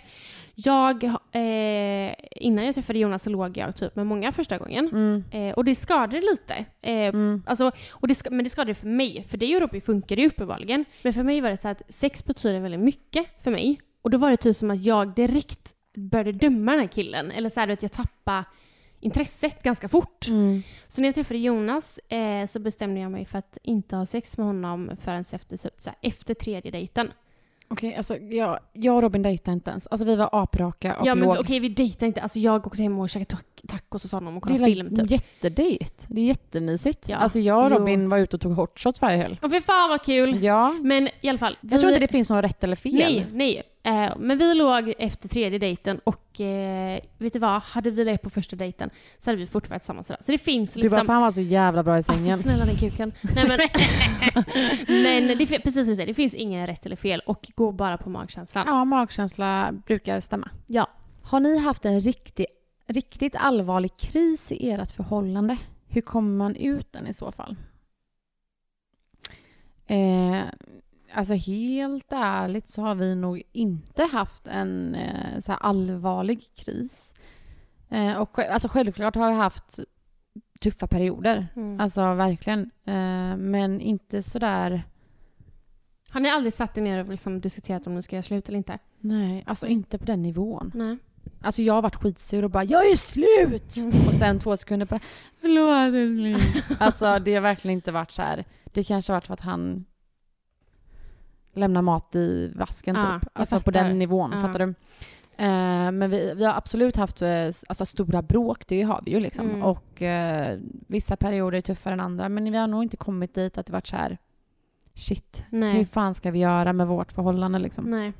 Speaker 2: Jag, eh, innan jag träffade Jonas så låg jag typ med många första gången.
Speaker 3: Mm.
Speaker 2: Eh, och det skadade lite. Eh,
Speaker 3: Mm.
Speaker 2: alltså, och det ska, men det skadade för mig, för dig och Robin funkar ju uppenbarligen. Men för mig var det så här att sex betyder väldigt mycket för mig. Och då var det typ som att jag direkt började döma den här killen. Eller så här, du vet, jag tappade intresset ganska fort.
Speaker 3: Mm.
Speaker 2: Så när jag träffade Jonas eh, så bestämde jag mig för att inte ha sex med honom förrän efter, typ, så här, efter tredje dejten.
Speaker 3: Okej, alltså jag, jag och Robin dejtade inte ens. Alltså vi var apraka och
Speaker 2: Ja men
Speaker 3: låg.
Speaker 2: okej vi dejtade inte, alltså jag åkte hem och käkade tac- tacos hos honom och
Speaker 3: det är
Speaker 2: kollade
Speaker 3: like
Speaker 2: film typ.
Speaker 3: jättedejt. Det är jättemysigt.
Speaker 2: Ja.
Speaker 3: Alltså jag och
Speaker 2: Jo.
Speaker 3: Robin var ute och tog hot shots varje helg.
Speaker 2: Åh fy fan vad kul!
Speaker 3: Ja.
Speaker 2: Men i alla fall.
Speaker 3: Jag tror inte det finns något rätt eller fel.
Speaker 2: Nej, nej. Eh, men vi låg efter tredje dejten och eh, vet du vad? Hade vi legat på första dejten så hade vi fortfarande varit tillsammans idag. Så det finns
Speaker 3: Du
Speaker 2: liksom...
Speaker 3: bara, fan var så jävla bra i sängen.
Speaker 2: Alltså snälla den kuken. Nej, men men det, fin- precis som du säger, det finns ingen rätt eller fel och gå bara på magkänslan.
Speaker 3: Ja, magkänsla brukar stämma.
Speaker 2: Ja.
Speaker 3: Har ni haft en riktig, riktigt allvarlig kris i ert förhållande? Hur kommer man ut den i så fall? Eh, alltså helt ärligt så har vi nog inte haft en eh, så här allvarlig kris. Eh, och sj- alltså självklart har vi haft tuffa perioder.
Speaker 2: Mm.
Speaker 3: Alltså verkligen. Eh, men inte sådär...
Speaker 2: Har ni aldrig satt er ner och liksom diskuterat om ni ska göra slut eller inte?
Speaker 3: Nej, alltså inte på den nivån.
Speaker 2: Nej.
Speaker 3: Alltså jag har varit skitsur och bara “Jag är slut!”
Speaker 2: Mm.
Speaker 3: och sen två sekunder bara “Förlåt älskling”. Alltså det har verkligen inte varit så här. Det kanske har varit för att han lämnar mat i vasken
Speaker 2: Ja,
Speaker 3: typ.
Speaker 2: jag
Speaker 3: Alltså på
Speaker 2: fattar.
Speaker 3: den nivån,
Speaker 2: Ja.
Speaker 3: fattar du? Eh, men vi, vi har absolut haft eh, alltså, stora bråk, det har vi ju liksom.
Speaker 2: Mm.
Speaker 3: Och eh, vissa perioder är tuffare än andra, men vi har nog inte kommit dit att det varit så här shit,
Speaker 2: Nej.
Speaker 3: hur fan ska vi göra med vårt förhållande liksom?
Speaker 2: Nej.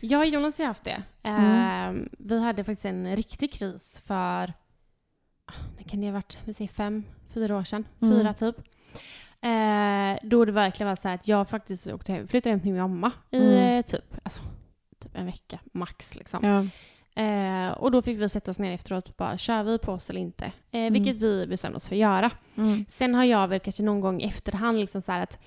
Speaker 2: Jag och Jonas har haft det.
Speaker 3: Mm.
Speaker 2: Eh, vi hade faktiskt en riktig kris för, ah, när kan det ha varit, vi säger fem, fyra år sedan.
Speaker 3: Mm.
Speaker 2: Fyra typ. Eh, då det verkligen var så här att jag faktiskt åkte hem, flyttade hem till min mamma i
Speaker 3: Mm.
Speaker 2: eh, typ, alltså, typ en vecka max. Liksom.
Speaker 3: Ja.
Speaker 2: Eh, och då fick vi sätta oss ner efteråt och bara, kör vi på oss eller inte? Eh, Vilket vi bestämde oss för att göra.
Speaker 3: Mm.
Speaker 2: Sen har jag väl kanske någon gång i efterhand liksom så här att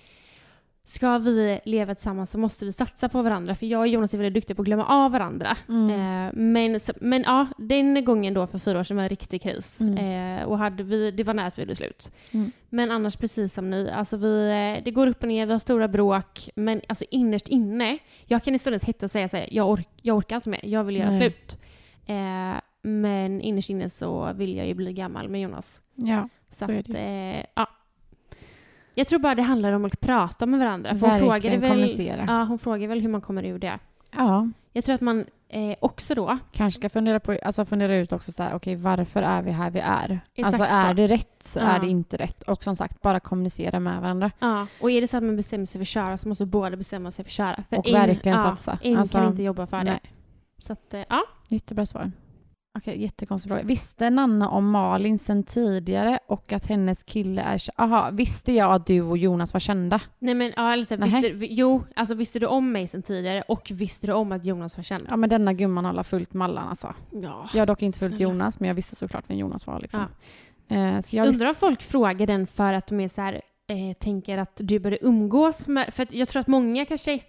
Speaker 2: ska vi leva tillsammans så måste vi satsa på varandra. För jag och Jonas är väldigt duktiga på att glömma av varandra.
Speaker 3: Mm.
Speaker 2: Eh, men, så- men ja, den gången då för fyra år sedan var en riktig kris. Eh, och hade vi, det var nära att vi gjorde slut.
Speaker 3: Mm.
Speaker 2: Men annars precis som ni, alltså vi, eh, det går upp och ner, vi har stora bråk. Men alltså innerst inne, jag kan i stundens hetta säga så här, jag, ork, jag orkar inte mer, jag vill göra
Speaker 3: Nej.
Speaker 2: slut. Eh, men innerst inne så vill jag ju bli gammal med Jonas.
Speaker 3: ja.
Speaker 2: Så,
Speaker 3: Så är
Speaker 2: att, eh, ja. Jag tror bara det handlar om att prata med varandra. För hon,
Speaker 3: Verkligen
Speaker 2: frågade väl,
Speaker 3: kommunicera.
Speaker 2: ja, hon frågade väl hur man kommer ur det.
Speaker 3: Ja,
Speaker 2: Jag tror att man eh, också då...
Speaker 3: kanske ska fundera, på, alltså fundera ut också så här, okej varför är vi här vi är?
Speaker 2: Exakt
Speaker 3: alltså är
Speaker 2: så.
Speaker 3: det rätt?
Speaker 2: Ja.
Speaker 3: Är det inte rätt? Och som sagt, bara kommunicera med varandra.
Speaker 2: Ja, och är det så att man bestämmer sig för att köra så måste båda bestämma sig för att köra. För
Speaker 3: Och verkligen
Speaker 2: ja,
Speaker 3: satsa.
Speaker 2: En
Speaker 3: Alltså,
Speaker 2: kan inte jobba för det.
Speaker 3: Nej.
Speaker 2: Så att, eh, ja.
Speaker 3: Jättebra svar. Okej, jättekonstig fråga. Visste Nanna om Malin sen tidigare och att hennes kille är... kä- Aha, visste jag att du och Jonas var kända?
Speaker 2: Nej men ja, eller så, här,
Speaker 3: Nähä.
Speaker 2: visste, vi- jo, alltså visste du om mig sen tidigare och visste du om att Jonas var känd?
Speaker 3: Ja, men denna gumman håller fullt mallan alltså.
Speaker 2: Ja.
Speaker 3: Jag har dock inte följt
Speaker 2: Snälla.
Speaker 3: Jonas, men jag visste såklart vem Jonas var liksom. Eh, så jag visste...
Speaker 2: Undrar om folk frågar den för att de är så här, eh, tänker att du börjar umgås med... För att jag tror att många kanske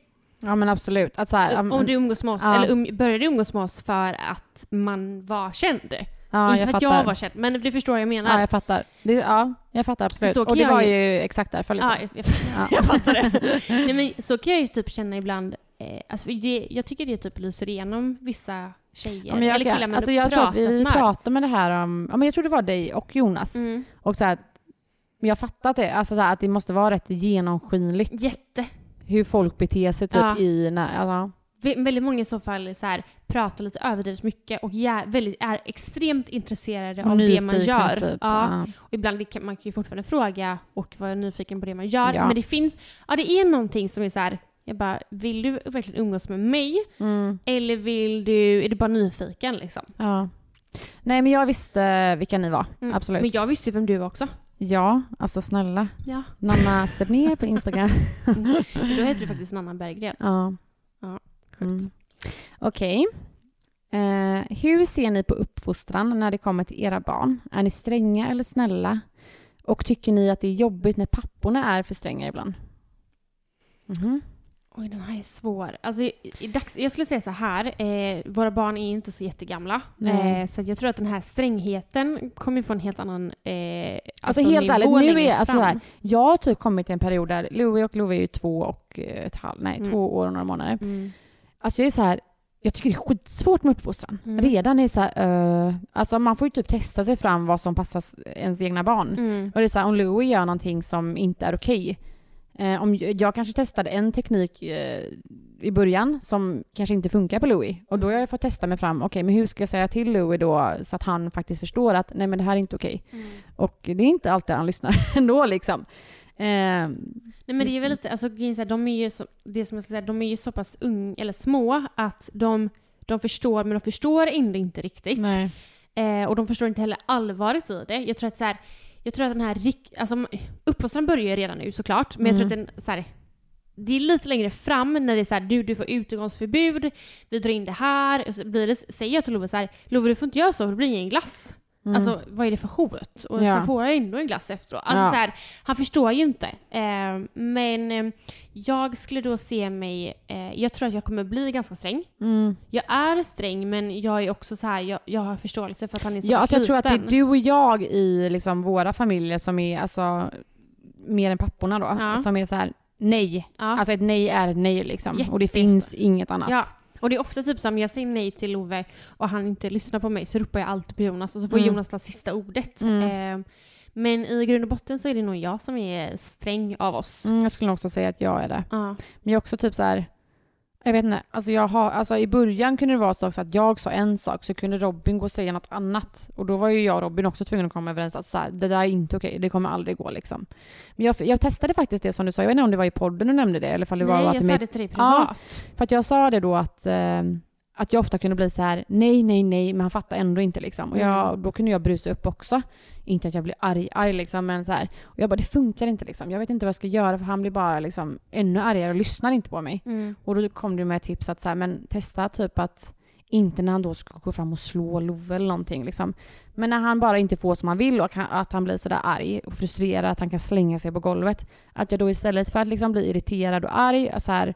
Speaker 3: Ja, men absolut. Att så här,
Speaker 2: Om- Om du umgås med oss,
Speaker 3: Ja.
Speaker 2: eller um, började umgås med oss för att man var känd.
Speaker 3: ja,
Speaker 2: inte för att
Speaker 3: fattar.
Speaker 2: jag var känd, men du förstår vad jag menar.
Speaker 3: Ja, jag fattar. Det, ja, jag fattar absolut.
Speaker 2: Så kan
Speaker 3: Och det
Speaker 2: jag
Speaker 3: var
Speaker 2: ju-
Speaker 3: ju exakt därför liksom.
Speaker 2: Ja, jag, jag,
Speaker 3: Ja.
Speaker 2: fattar det. Nej, men så kan jag ju typ känna ibland, eh, alltså, för det, jag tycker det typ lyser igenom vissa tjejer,
Speaker 3: Ja, men jag,
Speaker 2: eller killar man
Speaker 3: alltså
Speaker 2: har
Speaker 3: jag tror att
Speaker 2: pratat
Speaker 3: vi vi
Speaker 2: med.
Speaker 3: pratade med det här om, ja, men jag tror det var dig och Jonas.
Speaker 2: Mm.
Speaker 3: Och så här, men jag fattar att det, alltså så här, att det måste vara rätt genomskinligt
Speaker 2: Jätte.
Speaker 3: hur folk beter sig typ
Speaker 2: Ja.
Speaker 3: i, när, alltså,
Speaker 2: Vä- Väldigt många i så fall så här, pratar lite överdrivet mycket och jä- väldigt, är extremt intresserade av det man
Speaker 3: nyfikna,
Speaker 2: gör.
Speaker 3: Typ.
Speaker 2: Ja.
Speaker 3: Ja.
Speaker 2: Och ibland det kan, man kan ju fortfarande fråga och vara nyfiken på det man gör.
Speaker 3: Ja.
Speaker 2: Men det finns, ja det är någonting som är så här, jag bara, vill du verkligen umgås med mig?
Speaker 3: Mm,
Speaker 2: Eller vill du, är du bara nyfiken liksom?
Speaker 3: ja. Nej men jag visste vilka ni var,
Speaker 2: Mm.
Speaker 3: absolut.
Speaker 2: Men jag visste ju vem du var också.
Speaker 3: Ja, alltså snälla.
Speaker 2: Ja.
Speaker 3: Nanna ner på Instagram.
Speaker 2: Mm. Då heter du faktiskt Nanna Berggren.
Speaker 3: ja.
Speaker 2: Sjukt.
Speaker 3: Mm. Okej. Eh, hur ser ni på uppfostran när det kommer till era barn? Är ni stränga eller snälla? Och tycker ni att det är jobbigt när papporna är för stränga ibland? Mhm.
Speaker 2: Oj, den här är svår. Alltså, i, i dags, jag skulle säga så här, eh, våra barn är inte så jättegamla.
Speaker 3: Nej.
Speaker 2: Eh, så att jag tror att den här strängheten kommer ju få en helt annan eh,
Speaker 3: Alltså, helt
Speaker 2: nivå
Speaker 3: ärligt, nu
Speaker 2: längre
Speaker 3: är jag- alltså,
Speaker 2: fram.
Speaker 3: så här, Jag har typ kommit till en period där Louie och Louie är ju två och eh, ett halv, nej,
Speaker 2: Mm.
Speaker 3: två år och några månader.
Speaker 2: Mm.
Speaker 3: Alltså jag är så här, jag tycker det är skitsvårt med uppfostran.
Speaker 2: Mm.
Speaker 3: Redan är det så här, eh, alltså man får ju typ testa sig fram vad som passar ens egna barn.
Speaker 2: Mm.
Speaker 3: Och det är så här, om Louis gör någonting som inte är okej. Eh, om jag, jag kanske testade en teknik eh, i början som kanske inte funkar på Louis. Och då har jag fått testa mig fram, okej men hur ska jag säga till Louis då så att han faktiskt förstår att nej men det här är inte okej.
Speaker 2: Mm.
Speaker 3: Och det är inte alltid han lyssnar ändå liksom. Eh,
Speaker 2: Nej men det är väl lite, alltså grejen är så här, de är ju så, det som jag ska säga, de är ju så pass unga, eller små, att de, de förstår, men de förstår ändå inte riktigt. Eh, och de förstår inte heller allvaret i det. Jag tror att så här, jag tror att den här, rik- alltså uppfostran börjar ju redan nu såklart, men jag
Speaker 3: Mm.
Speaker 2: tror att den, så här, det är lite längre fram när det är så här, du, du får utegångsförbud, vi drar in det här, och så blir det, säger jag till Love så här, Love du får inte göra så för det blir ingen glass. Alltså vad är det för hot? Och
Speaker 3: Mm. Ja.
Speaker 2: så får jag ändå en glass efteråt. Alltså,
Speaker 3: Ja.
Speaker 2: så här, han förstår ju inte. Eh, men eh, jag skulle då se mig, eh, jag tror att jag kommer bli ganska sträng.
Speaker 3: Mm.
Speaker 2: Jag är sträng men jag är också så här, jag, jag har förståelse för att han är så
Speaker 3: Ja, alltså jag tror att det
Speaker 2: sliten.
Speaker 3: är du och jag i liksom våra familjer som är alltså mer än papporna då,
Speaker 2: Ja.
Speaker 3: som är så här nej.
Speaker 2: Ja.
Speaker 3: Alltså ett nej är ett nej liksom.
Speaker 2: Jätte-
Speaker 3: och det finns inget annat.
Speaker 2: ja. Och det är ofta typ som jag säger nej till Ove och han inte lyssnar på mig så ropar jag alltid på Jonas och så får
Speaker 5: Mm.
Speaker 2: Jonas ta sista ordet.
Speaker 5: Mm.
Speaker 2: Eh, men i grund och botten så är det nog jag som är sträng av oss.
Speaker 3: Mm, jag skulle nog också säga att jag är det.
Speaker 1: Uh.
Speaker 2: Ja.
Speaker 3: Men jag är också typ så här, jag vet inte, alltså jag har, alltså i början kunde det vara så också att jag sa en sak så kunde Robin gå och säga något annat. Och då var ju jag och Robin också tvungna att komma överens att så här, det där är inte okej, det kommer aldrig gå liksom. Men jag, jag testade faktiskt det som du sa, jag vet inte om det var i podden du nämnde det eller ifall det
Speaker 2: nej,
Speaker 3: bara var
Speaker 2: jag
Speaker 3: till
Speaker 2: sa
Speaker 3: mig
Speaker 2: det till dig
Speaker 3: Ja.
Speaker 2: privat.
Speaker 3: för att jag sa det då att, eh, att jag ofta kunde bli så här nej, nej, nej, men han fattar ändå inte liksom. Och jag, då kunde jag brusa upp också. Inte att jag blev arg, arg liksom, men så här. Och jag bara, det funkar inte liksom. Jag vet inte vad jag ska göra för han blir bara liksom ännu argare och lyssnar inte på mig.
Speaker 2: Mm.
Speaker 3: Och då kom du med ett tips att så här, men testa typ att inte när han då ska gå fram och slå Love eller någonting liksom. Men när han bara inte får som han vill och han- att han blir sådär arg och frustrerad att han kan slänga sig på golvet. Att jag då istället för att liksom bli irriterad och arg så här,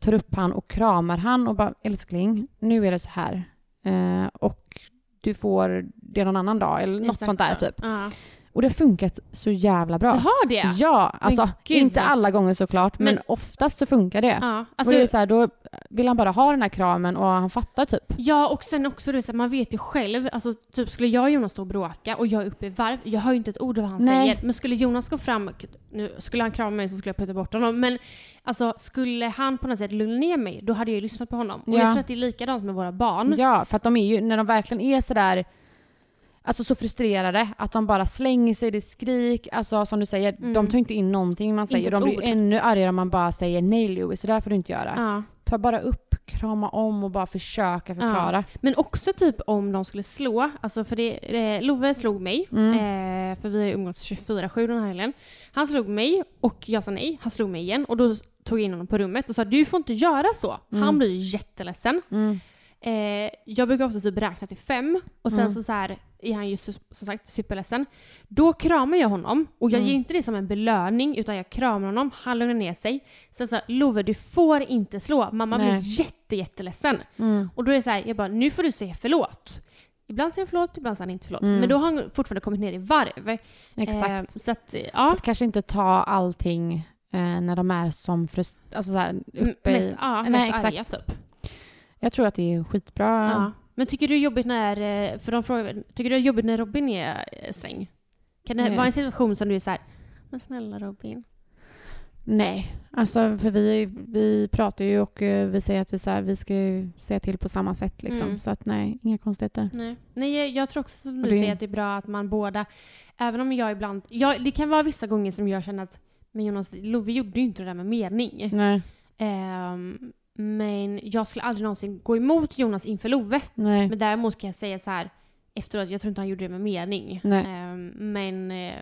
Speaker 3: tar upp han och kramar han och bara älskling, nu är det så här. Eh, och du får det någon annan dag eller något
Speaker 2: Exakt
Speaker 3: sånt där
Speaker 2: så.
Speaker 3: typ.
Speaker 2: Ja.
Speaker 3: Och det har funkat så jävla bra.
Speaker 2: Du har det?
Speaker 3: Ja, alltså
Speaker 2: gud,
Speaker 3: inte
Speaker 2: vad-
Speaker 3: alla gånger såklart men,
Speaker 2: Men-
Speaker 3: oftast så funkar det.
Speaker 2: Ja,
Speaker 3: och det
Speaker 2: alltså,
Speaker 3: är så här, då vill han bara ha den här kramen och han fattar typ.
Speaker 2: ja och sen också det, så här, man vet ju själv, alltså, typ skulle jag och Jonas stå och bråka och jag är uppe i varv, jag hör ju inte ett ord av vad han
Speaker 3: Nej.
Speaker 2: säger. Men skulle Jonas gå fram, och- nu skulle han krama mig så skulle jag putta bort honom. Men alltså skulle han på något sätt lugna ner mig, då hade jag ju lyssnat på honom. Och
Speaker 3: Ja.
Speaker 2: jag tror att det är likadant med våra barn.
Speaker 3: Ja, för att de är ju, när de verkligen är sådär, alltså så frustrerade att de bara slänger sig, det är skrik, alltså som du säger,
Speaker 2: Mm.
Speaker 3: de tar inte in någonting man säger.
Speaker 2: Inte
Speaker 3: De
Speaker 2: ett
Speaker 3: blir ju
Speaker 2: ord.
Speaker 3: ännu argare om man bara säger nej Louis, så där får du inte göra.
Speaker 2: Ja.
Speaker 3: Ta bara upp, krama om och bara försöka förklara.
Speaker 2: Men också typ om de skulle slå, alltså för det, eh, Love slog mig,
Speaker 3: Mm.
Speaker 2: eh, för vi har ju umgåtts 24-7 den här helgen. Han slog mig och jag sa nej, han slog mig igen och då s- tog jag in honom på rummet och sa du får inte göra så. Han blir ju jätteledsen.
Speaker 3: Mm.
Speaker 2: Eh, jag brukar ofta typ räkna till fem och sen
Speaker 3: Mm.
Speaker 2: så, så här, är han ju su- som sagt superledsen. Då kramar jag honom och jag
Speaker 3: Mm.
Speaker 2: ger inte det som en belöning utan jag kramar honom, han lugnar ner sig. Sen så här, Love du får inte slå, mamma blir
Speaker 3: Nej.
Speaker 2: jätte jätteledsen.
Speaker 3: Mm.
Speaker 2: Och då är det så här, jag bara, nu får du säga förlåt. Ibland säger han förlåt, ibland säger han inte förlåt.
Speaker 3: Mm.
Speaker 2: Men då har han fortfarande kommit ner i varv.
Speaker 3: Exakt.
Speaker 2: Eh, så att,
Speaker 3: Så
Speaker 2: ja.
Speaker 3: att kanske inte ta allting eh, när de är som frustrerade, alltså såhär
Speaker 2: m-
Speaker 3: uppe
Speaker 2: Mest,
Speaker 3: i...
Speaker 2: ja,
Speaker 3: Nej,
Speaker 2: mest
Speaker 3: exakt.
Speaker 2: arga typ.
Speaker 3: Jag tror att det är skitbra.
Speaker 2: Ja. Men tycker du det är jobbigt när, eh, för de frågar, tycker du det är jobbigt när Robin är eh, sträng? Kan det
Speaker 3: Nej.
Speaker 2: vara en situation som du är så här, men snälla Robin.
Speaker 3: Nej, alltså för vi, vi pratar ju och eh, vi säger att vi, så här, vi ska ju säga till på samma sätt liksom.
Speaker 2: Mm.
Speaker 3: Så att nej, inga konstigheter.
Speaker 2: Nej. Nej, jag tror också som
Speaker 3: Och
Speaker 2: du
Speaker 3: det-
Speaker 2: säger att det är bra att man båda, även om jag ibland, ja, det kan vara vissa gånger som jag känner att, men Jonas, Love gjorde ju inte det där med mening.
Speaker 3: Nej,
Speaker 2: Ehm, men jag skulle aldrig någonsin gå emot Jonas inför Love.
Speaker 3: nej.
Speaker 2: Men däremot kan jag säga så här efteråt, jag tror inte han gjorde det med mening.
Speaker 3: Nej.
Speaker 2: Ehm, men eh,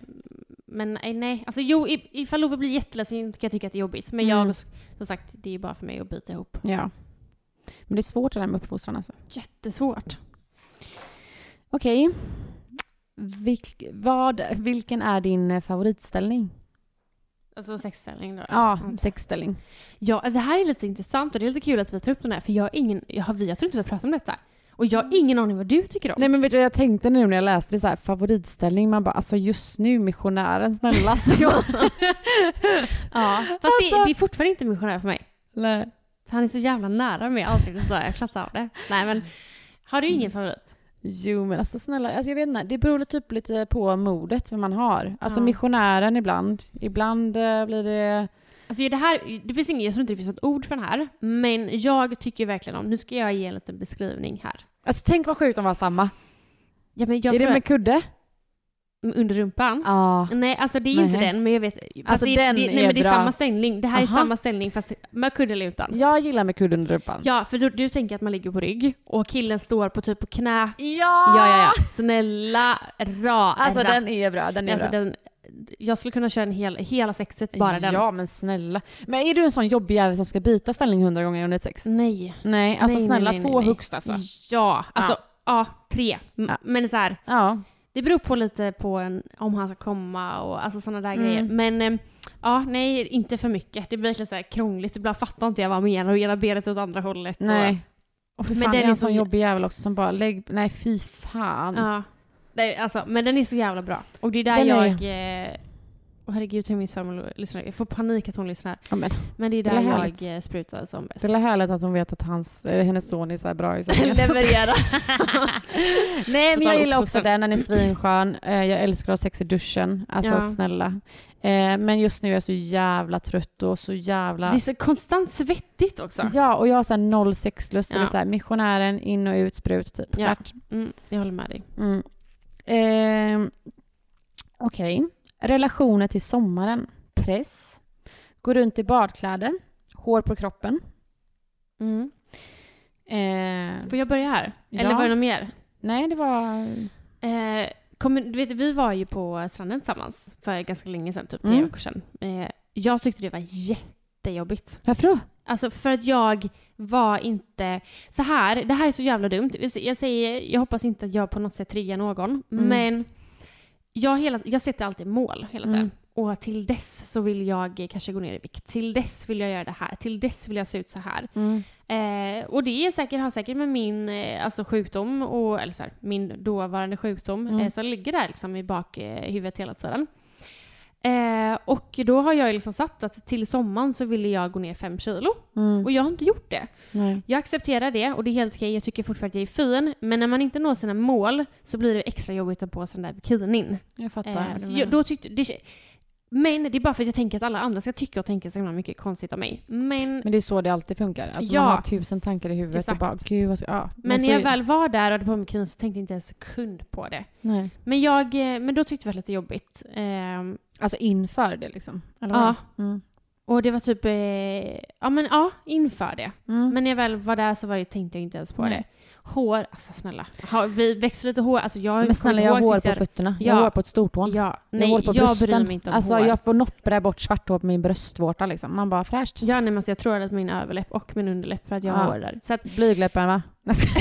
Speaker 2: men eh, nej, alltså jo, i- ifall Love blir jätteledsen kan jag tycka att det är jobbigt. Men
Speaker 3: Mm.
Speaker 2: jag, som sagt, det är ju bara för mig att bita ihop.
Speaker 3: Ja. Men det är svårt det där med uppfostran alltså.
Speaker 2: Jättesvårt.
Speaker 3: Okej. Vilk, vad, vilken är din eh, favoritställning?
Speaker 2: Alltså sexställning då.
Speaker 3: Ja,
Speaker 2: antar jag.
Speaker 3: sexställning.
Speaker 2: Mm. Ja, det här är lite intressant och det är lite kul att vi tar upp den här för jag har ingen, jag, har, jag tror inte vi har pratat om detta. Och jag har ingen aning vad du tycker om.
Speaker 3: Mm. Nej men vet du jag tänkte nu när jag läste det så här, favoritställning, man bara alltså just nu missionären snälla. Så jag,
Speaker 2: ja, fast det,
Speaker 3: Alltså-
Speaker 2: det är fortfarande inte missionär för mig.
Speaker 3: nej.
Speaker 2: För han är så jävla nära mig i ansiktet så jag klassar av det. Nej men, har du
Speaker 3: Mm.
Speaker 2: ingen favorit?
Speaker 3: Jo men alltså snälla, alltså jag vet inte, det beror typ lite på modet vad man har. Alltså
Speaker 2: Ja.
Speaker 3: missionären ibland, ibland eh, blir det...
Speaker 2: Alltså det här, det finns ingen, jag tror inte det finns något ord för den här. Men jag tycker verkligen om, nu ska jag ge en liten beskrivning här.
Speaker 3: Alltså tänk vad sjukt de var samma.
Speaker 2: Ja, men jag
Speaker 3: är det
Speaker 2: tror
Speaker 3: med kudde?
Speaker 2: att- under rumpan?
Speaker 3: Ja.
Speaker 2: Nej, alltså det är
Speaker 3: Nej.
Speaker 2: inte den, men jag vet. fast
Speaker 3: Alltså,
Speaker 2: det,
Speaker 3: den
Speaker 2: det, nej,
Speaker 3: är
Speaker 2: men det är
Speaker 3: bra.
Speaker 2: samma ställning. Det här är
Speaker 3: Aha.
Speaker 2: samma ställning fast med kudde eller utan.
Speaker 3: Jag gillar med kudde under rumpan.
Speaker 2: Ja, för du, du tänker att man ligger på rygg och killen står på typ på knä.
Speaker 3: Ja!
Speaker 2: Ja, ja, ja. Snälla rara.
Speaker 3: Alltså den är bra, den är
Speaker 2: Alltså,
Speaker 3: bra.
Speaker 2: den, jag skulle kunna köra en hel, hela sexet, bara den.
Speaker 3: Ja men snälla. Men är du en sån jobbig jävel som ska byta ställning hundra gånger under ett sex?
Speaker 2: Nej.
Speaker 3: Nej, alltså
Speaker 2: Nej, nej,
Speaker 3: snälla
Speaker 2: nej, nej,
Speaker 3: två
Speaker 2: nej.
Speaker 3: högst alltså.
Speaker 2: Ja, alltså ja, tre. M-
Speaker 3: Ja.
Speaker 2: Men så här,
Speaker 3: Ja.
Speaker 2: det beror på lite på en, om han ska komma och alltså sådana där
Speaker 3: Mm.
Speaker 2: grejer. Men eh, ja, nej, inte för mycket. Det blir verkligen så här krångligt. Ibland fattar inte jag vad han menar och ena benet åt andra hållet.
Speaker 3: Nej. Och fy
Speaker 2: Men
Speaker 3: fan, men
Speaker 2: den
Speaker 3: är
Speaker 2: är
Speaker 3: en
Speaker 2: så
Speaker 3: sån
Speaker 2: jä-
Speaker 3: jobbig jävel också som bara lägg... Nej fy
Speaker 2: Och,
Speaker 3: fan.
Speaker 2: ja. Nej, alltså, men den är så jävla bra. Och det är där
Speaker 3: Den är-
Speaker 2: jag... Eh, Och herregud hur min svärmor lyssnar. Jag får panik att hon lyssnar.
Speaker 3: Ja, men.
Speaker 2: Men det är där
Speaker 3: Det är
Speaker 2: jag
Speaker 3: härligt.
Speaker 2: eh, sprutar som bäst.
Speaker 3: Det är härligt att hon vet att hans, eh, hennes son är så här bra i sängen.
Speaker 2: Leverera.
Speaker 3: Nej, men
Speaker 2: Total
Speaker 3: jag gillar också
Speaker 2: uppfostran.
Speaker 3: den. Den är svinskön. Eh, Jag älskar att ha sex i duschen. Alltså
Speaker 2: Ja.
Speaker 3: snälla. Eh, Men just nu är jag så jävla trött och så jävla...
Speaker 2: Det är så konstant svettigt också.
Speaker 3: Ja, och jag har så här noll sexlust.
Speaker 2: Ja.
Speaker 3: Eller så här, missionären, in och ut, sprut, typ.
Speaker 2: Ja.
Speaker 3: Klart.
Speaker 2: Mm, jag håller med dig.
Speaker 3: Mm. Eh, Okej. Relationer till sommaren. Press. Gå runt i badkläder. Hår på kroppen. Mm. Eh,
Speaker 2: Får jag börja här? Eller
Speaker 3: Ja.
Speaker 2: var det något mer?
Speaker 3: nej, det var...
Speaker 2: Eh, kommer- du vet, vi var ju på stranden tillsammans för ganska länge sedan, typ tre
Speaker 3: Mm.
Speaker 2: veckor sedan. Eh, jag tyckte det var jättejobbigt.
Speaker 3: Varför då?
Speaker 2: Alltså för att jag var inte... Så här, det här är så jävla dumt. Jag, säger, jag hoppas inte att jag på något sätt triggar någon,
Speaker 3: Mm.
Speaker 2: men jag, hela, jag sätter alltid mål hela tiden.
Speaker 3: Mm.
Speaker 2: Och till dess så vill jag eh, kanske gå ner i vikt. Till dess vill jag göra det här. Till dess vill jag se ut så här. Eh, och det är säkert, har säkert med min eh, alltså sjukdom, och, eller så här, min dåvarande sjukdom,
Speaker 3: Mm.
Speaker 2: eh, som ligger där liksom i bakhuvudet eh, huvudet hela tiden. Eh, och då har jag ju liksom satt att till sommaren så ville jag gå ner fem kilo.
Speaker 3: Mm.
Speaker 2: Och jag har inte gjort det.
Speaker 3: Nej.
Speaker 2: Jag accepterar det och det är helt okej. Jag tycker fortfarande att jag är fin. Men när man inte når sina mål så blir det extra jobbigt att ta på sig den där bikinin.
Speaker 3: Jag fattar.
Speaker 2: Eh,
Speaker 3: vad du
Speaker 2: så
Speaker 3: menar.
Speaker 2: jag, då tyckte, det, men det är bara för att jag tänker att alla andra ska tycka och tänka så himla mycket konstigt om mig. Men
Speaker 3: Men det är så det alltid funkar. Alltså
Speaker 2: Ja.
Speaker 3: Man har tusen tankar i huvudet
Speaker 2: Exakt.
Speaker 3: och bara gud vad ska... Ja.
Speaker 2: Men
Speaker 3: så
Speaker 2: när jag
Speaker 3: är-
Speaker 2: väl var där och hade på mig bikinin så tänkte jag inte en sekund på det.
Speaker 3: Nej.
Speaker 2: Men, jag, eh, men då tyckte jag det var lite jobbigt. Ehm,
Speaker 3: Alltså inför det liksom? Eller
Speaker 2: Ja.
Speaker 3: vad? Mm.
Speaker 2: och det var typ, eh, ja men ja, inför det.
Speaker 3: Mm.
Speaker 2: Men när jag väl var där så var det, tänkte jag inte ens på
Speaker 3: Nej.
Speaker 2: det. Hår, alltså snälla. Ha, vi växer lite hår, alltså jag kommer
Speaker 3: Men snåla,
Speaker 2: inte
Speaker 3: jag har
Speaker 2: ihåg
Speaker 3: hår
Speaker 2: sist
Speaker 3: på
Speaker 2: jag-
Speaker 3: fötterna.
Speaker 2: Ja.
Speaker 3: Jag har hår på ett stort hår.
Speaker 2: Ja,
Speaker 3: jag
Speaker 2: nej,
Speaker 3: har hår på
Speaker 2: jag
Speaker 3: brösten.
Speaker 2: bryr mig inte om
Speaker 3: Alltså
Speaker 2: hår.
Speaker 3: jag får noppra bort svart hår på min bröstvårta liksom. Man bara fräscht.
Speaker 2: Ja, nej, men alltså jag tror att min överläpp och min underläpp för att jag har
Speaker 3: Ja.
Speaker 2: hår där. Så att,
Speaker 3: Blygläppen va? Jag ska-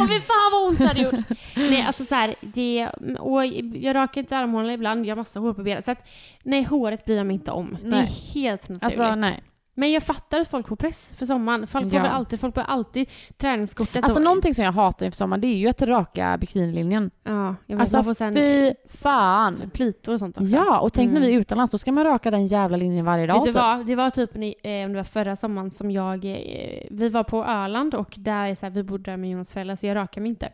Speaker 2: och fy fan vad ont det hade gjort! nej, alltså så här, det, och jag rakar inte armhålorna ibland, jag har massa hår på benen. Så att, nej, håret bryr jag mig inte om. Det
Speaker 3: Nej.
Speaker 2: är helt naturligt.
Speaker 3: Alltså nej.
Speaker 2: Men jag fattar att folk får press för sommaren. Folk får
Speaker 3: Ja.
Speaker 2: väl alltid, folk får alltid träningskortet.
Speaker 3: Alltså
Speaker 2: så-
Speaker 3: någonting som jag hatar inför sommaren det är ju att raka bikinilinjen.
Speaker 2: Ja, jag vet,
Speaker 3: Alltså
Speaker 2: man får sen
Speaker 3: fy fan.
Speaker 2: plitor och sånt också.
Speaker 3: Ja, och tänk när
Speaker 2: Mm.
Speaker 3: vi är utomlands, då ska man raka den jävla linjen varje dag.
Speaker 2: Vet du
Speaker 3: typ.
Speaker 2: vad? Det var typ ni, eh, om det var förra sommaren som jag... Eh, vi var på Öland och där är så här, vi bodde där med Jonas föräldrar så jag rakade mig inte.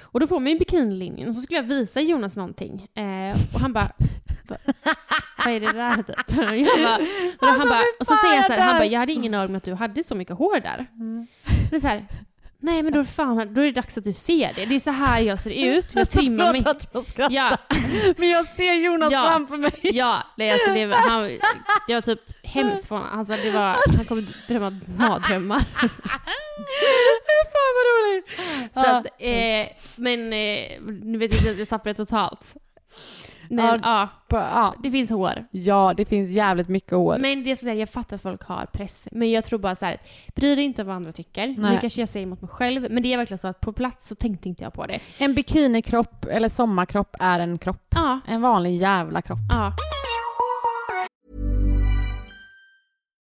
Speaker 2: Och då får man ju bikinilinjen och så skulle jag visa Jonas någonting. Eh, och han bara... "Va- Vad är det där typ? Jag bara, och, då han bara, och så säger jag så här, han bara, jag hade ingen aning om att du hade så mycket hår där. Och det är så här, nej men då, fan, då är det dags att du ser det. Det är så här jag ser ut, jag trimmar mig.
Speaker 5: att jag skrattar.
Speaker 2: Ja,
Speaker 5: Men jag ser Jonas
Speaker 2: Ja.
Speaker 5: framför mig.
Speaker 2: Ja, nej, alltså det, var, han, det var typ hemskt för honom. Alltså det var, han kommer drömma mardrömmar.
Speaker 5: Fan vad roligt.
Speaker 2: Så att, eh, men eh, nu vet jag, jag tappade det totalt. Men ja.
Speaker 3: Ja. På- Ja.
Speaker 2: det finns hår.
Speaker 3: ja, det finns jävligt mycket hår.
Speaker 2: Men det är så här, jag fattar att folk har press. Men jag tror bara så här, bry dig inte om vad andra tycker.
Speaker 3: Nej.
Speaker 2: Nu kanske jag säger emot mig själv, men det är verkligen så att på plats så tänkte inte jag på det.
Speaker 3: En bikinikropp eller sommarkropp är en kropp.
Speaker 2: Ja,
Speaker 3: En vanlig jävla kropp.
Speaker 2: ja.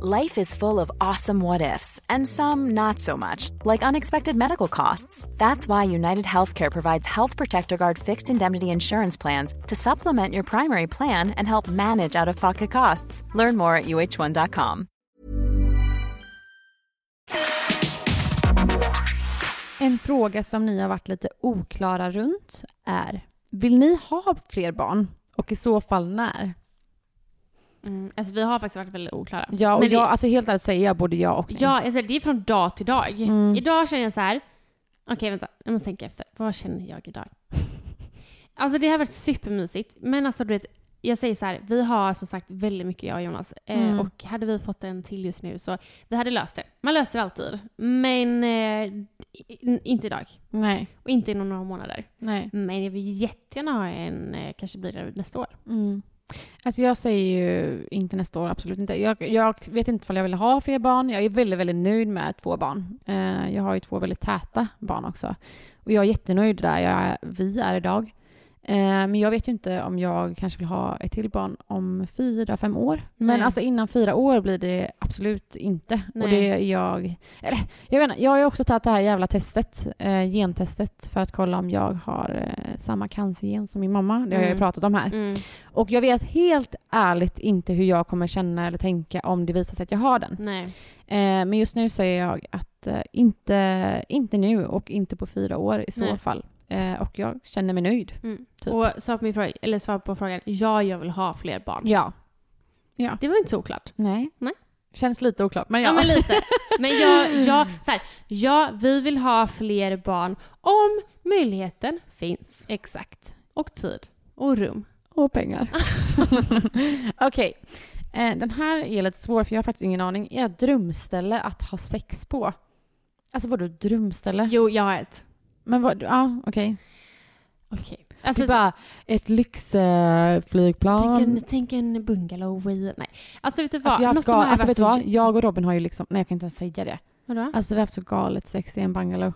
Speaker 6: Life is full of awesome what ifs, and some not so much, like unexpected medical costs. That's why United Healthcare provides Health Protector Guard fixed indemnity insurance plans to supplement your primary plan and help manage out of pocket costs. Learn more at uh1.com.
Speaker 3: En fråga som ni har varit lite oklara runt är, vill ni ha fler barn? Och i så fall när?
Speaker 2: Mm, alltså vi har faktiskt varit väldigt oklara.
Speaker 3: Ja, och
Speaker 2: Men det-
Speaker 3: jag, alltså helt ärligt säger jag både ja och nej.
Speaker 2: Ja, alltså, det är från dag till dag.
Speaker 3: Mm.
Speaker 2: Idag känner jag så här. Okej, vänta. Jag måste tänka efter. Vad känner jag idag? Alltså det har varit supermysigt. Men alltså du vet, jag säger så här. Vi har som sagt väldigt mycket jag och Jonas.
Speaker 3: Mm.
Speaker 2: Eh, och hade vi fått en till just nu så vi hade löst det. Man löser alltid. Men eh, i- inte idag.
Speaker 3: Nej.
Speaker 2: Och inte inom några månader.
Speaker 3: Nej.
Speaker 2: Men jag vill jättegärna ha en, eh, kanske blir det nästa år.
Speaker 3: Mm. Alltså jag säger ju inte nästa år, absolut inte. Jag, jag vet inte om jag vill ha fler barn. Jag är väldigt, väldigt nöjd med två barn. Eh, jag har ju två väldigt täta barn också. Och jag är jättenöjd där jag är, vi är idag. Eh, men jag vet ju inte om jag kanske vill ha ett till barn om fyra, fem år. Men
Speaker 2: Nej.
Speaker 3: alltså innan fyra år blir det absolut inte. Och
Speaker 2: Nej.
Speaker 3: det är jag... Eller, jag vet inte, jag har ju också tagit det här jävla testet, eh, gentestet, för att kolla om jag har eh, samma cancergen som min mamma. Det har jag
Speaker 2: Mm.
Speaker 3: ju pratat om här.
Speaker 2: Mm.
Speaker 3: Och jag vet helt ärligt inte hur jag kommer känna eller tänka om det visar sig att jag har den.
Speaker 2: Nej.
Speaker 3: Eh, men just nu säger jag att eh, inte, inte nu och inte på fyra år i så
Speaker 2: Nej.
Speaker 3: fall. Eh, och jag känner mig nöjd.
Speaker 2: Mm.
Speaker 3: Typ.
Speaker 2: Och svar på, min fråga, eller svar på frågan, ja, jag vill ha fler barn.
Speaker 3: Ja.
Speaker 2: Det var inte så oklart.
Speaker 3: Nej.
Speaker 2: Nej.
Speaker 3: Känns lite oklart, men
Speaker 2: Ja,
Speaker 3: ja.
Speaker 2: men lite. Men jag, jag, så här, ja, vi vill ha fler barn om möjligheten finns.
Speaker 3: Exakt.
Speaker 2: Och tid. Och rum.
Speaker 3: Och pengar. Okej. Eh, den här är lite svår, för jag har faktiskt ingen aning. Är ett drömställe att ha sex på? Alltså vadå drömställe?
Speaker 2: Jo, jag har ett.
Speaker 3: Men vad, ja, okej.
Speaker 2: Okej. Alltså,
Speaker 3: typ bara ett
Speaker 2: tänk,
Speaker 3: lyxflygplan.
Speaker 2: en, tänk en bungalow i... Nej. Alltså vet du vad?
Speaker 3: Alltså, jag, har
Speaker 2: Något
Speaker 3: haft
Speaker 2: som
Speaker 3: gal-
Speaker 2: har
Speaker 3: alltså vet du
Speaker 2: varit
Speaker 3: vad?
Speaker 2: så-
Speaker 3: Jag och Robin har ju liksom, nej jag kan inte ens säga det.
Speaker 2: Vadå?
Speaker 3: Alltså vi har haft så galet sex i en bungalow.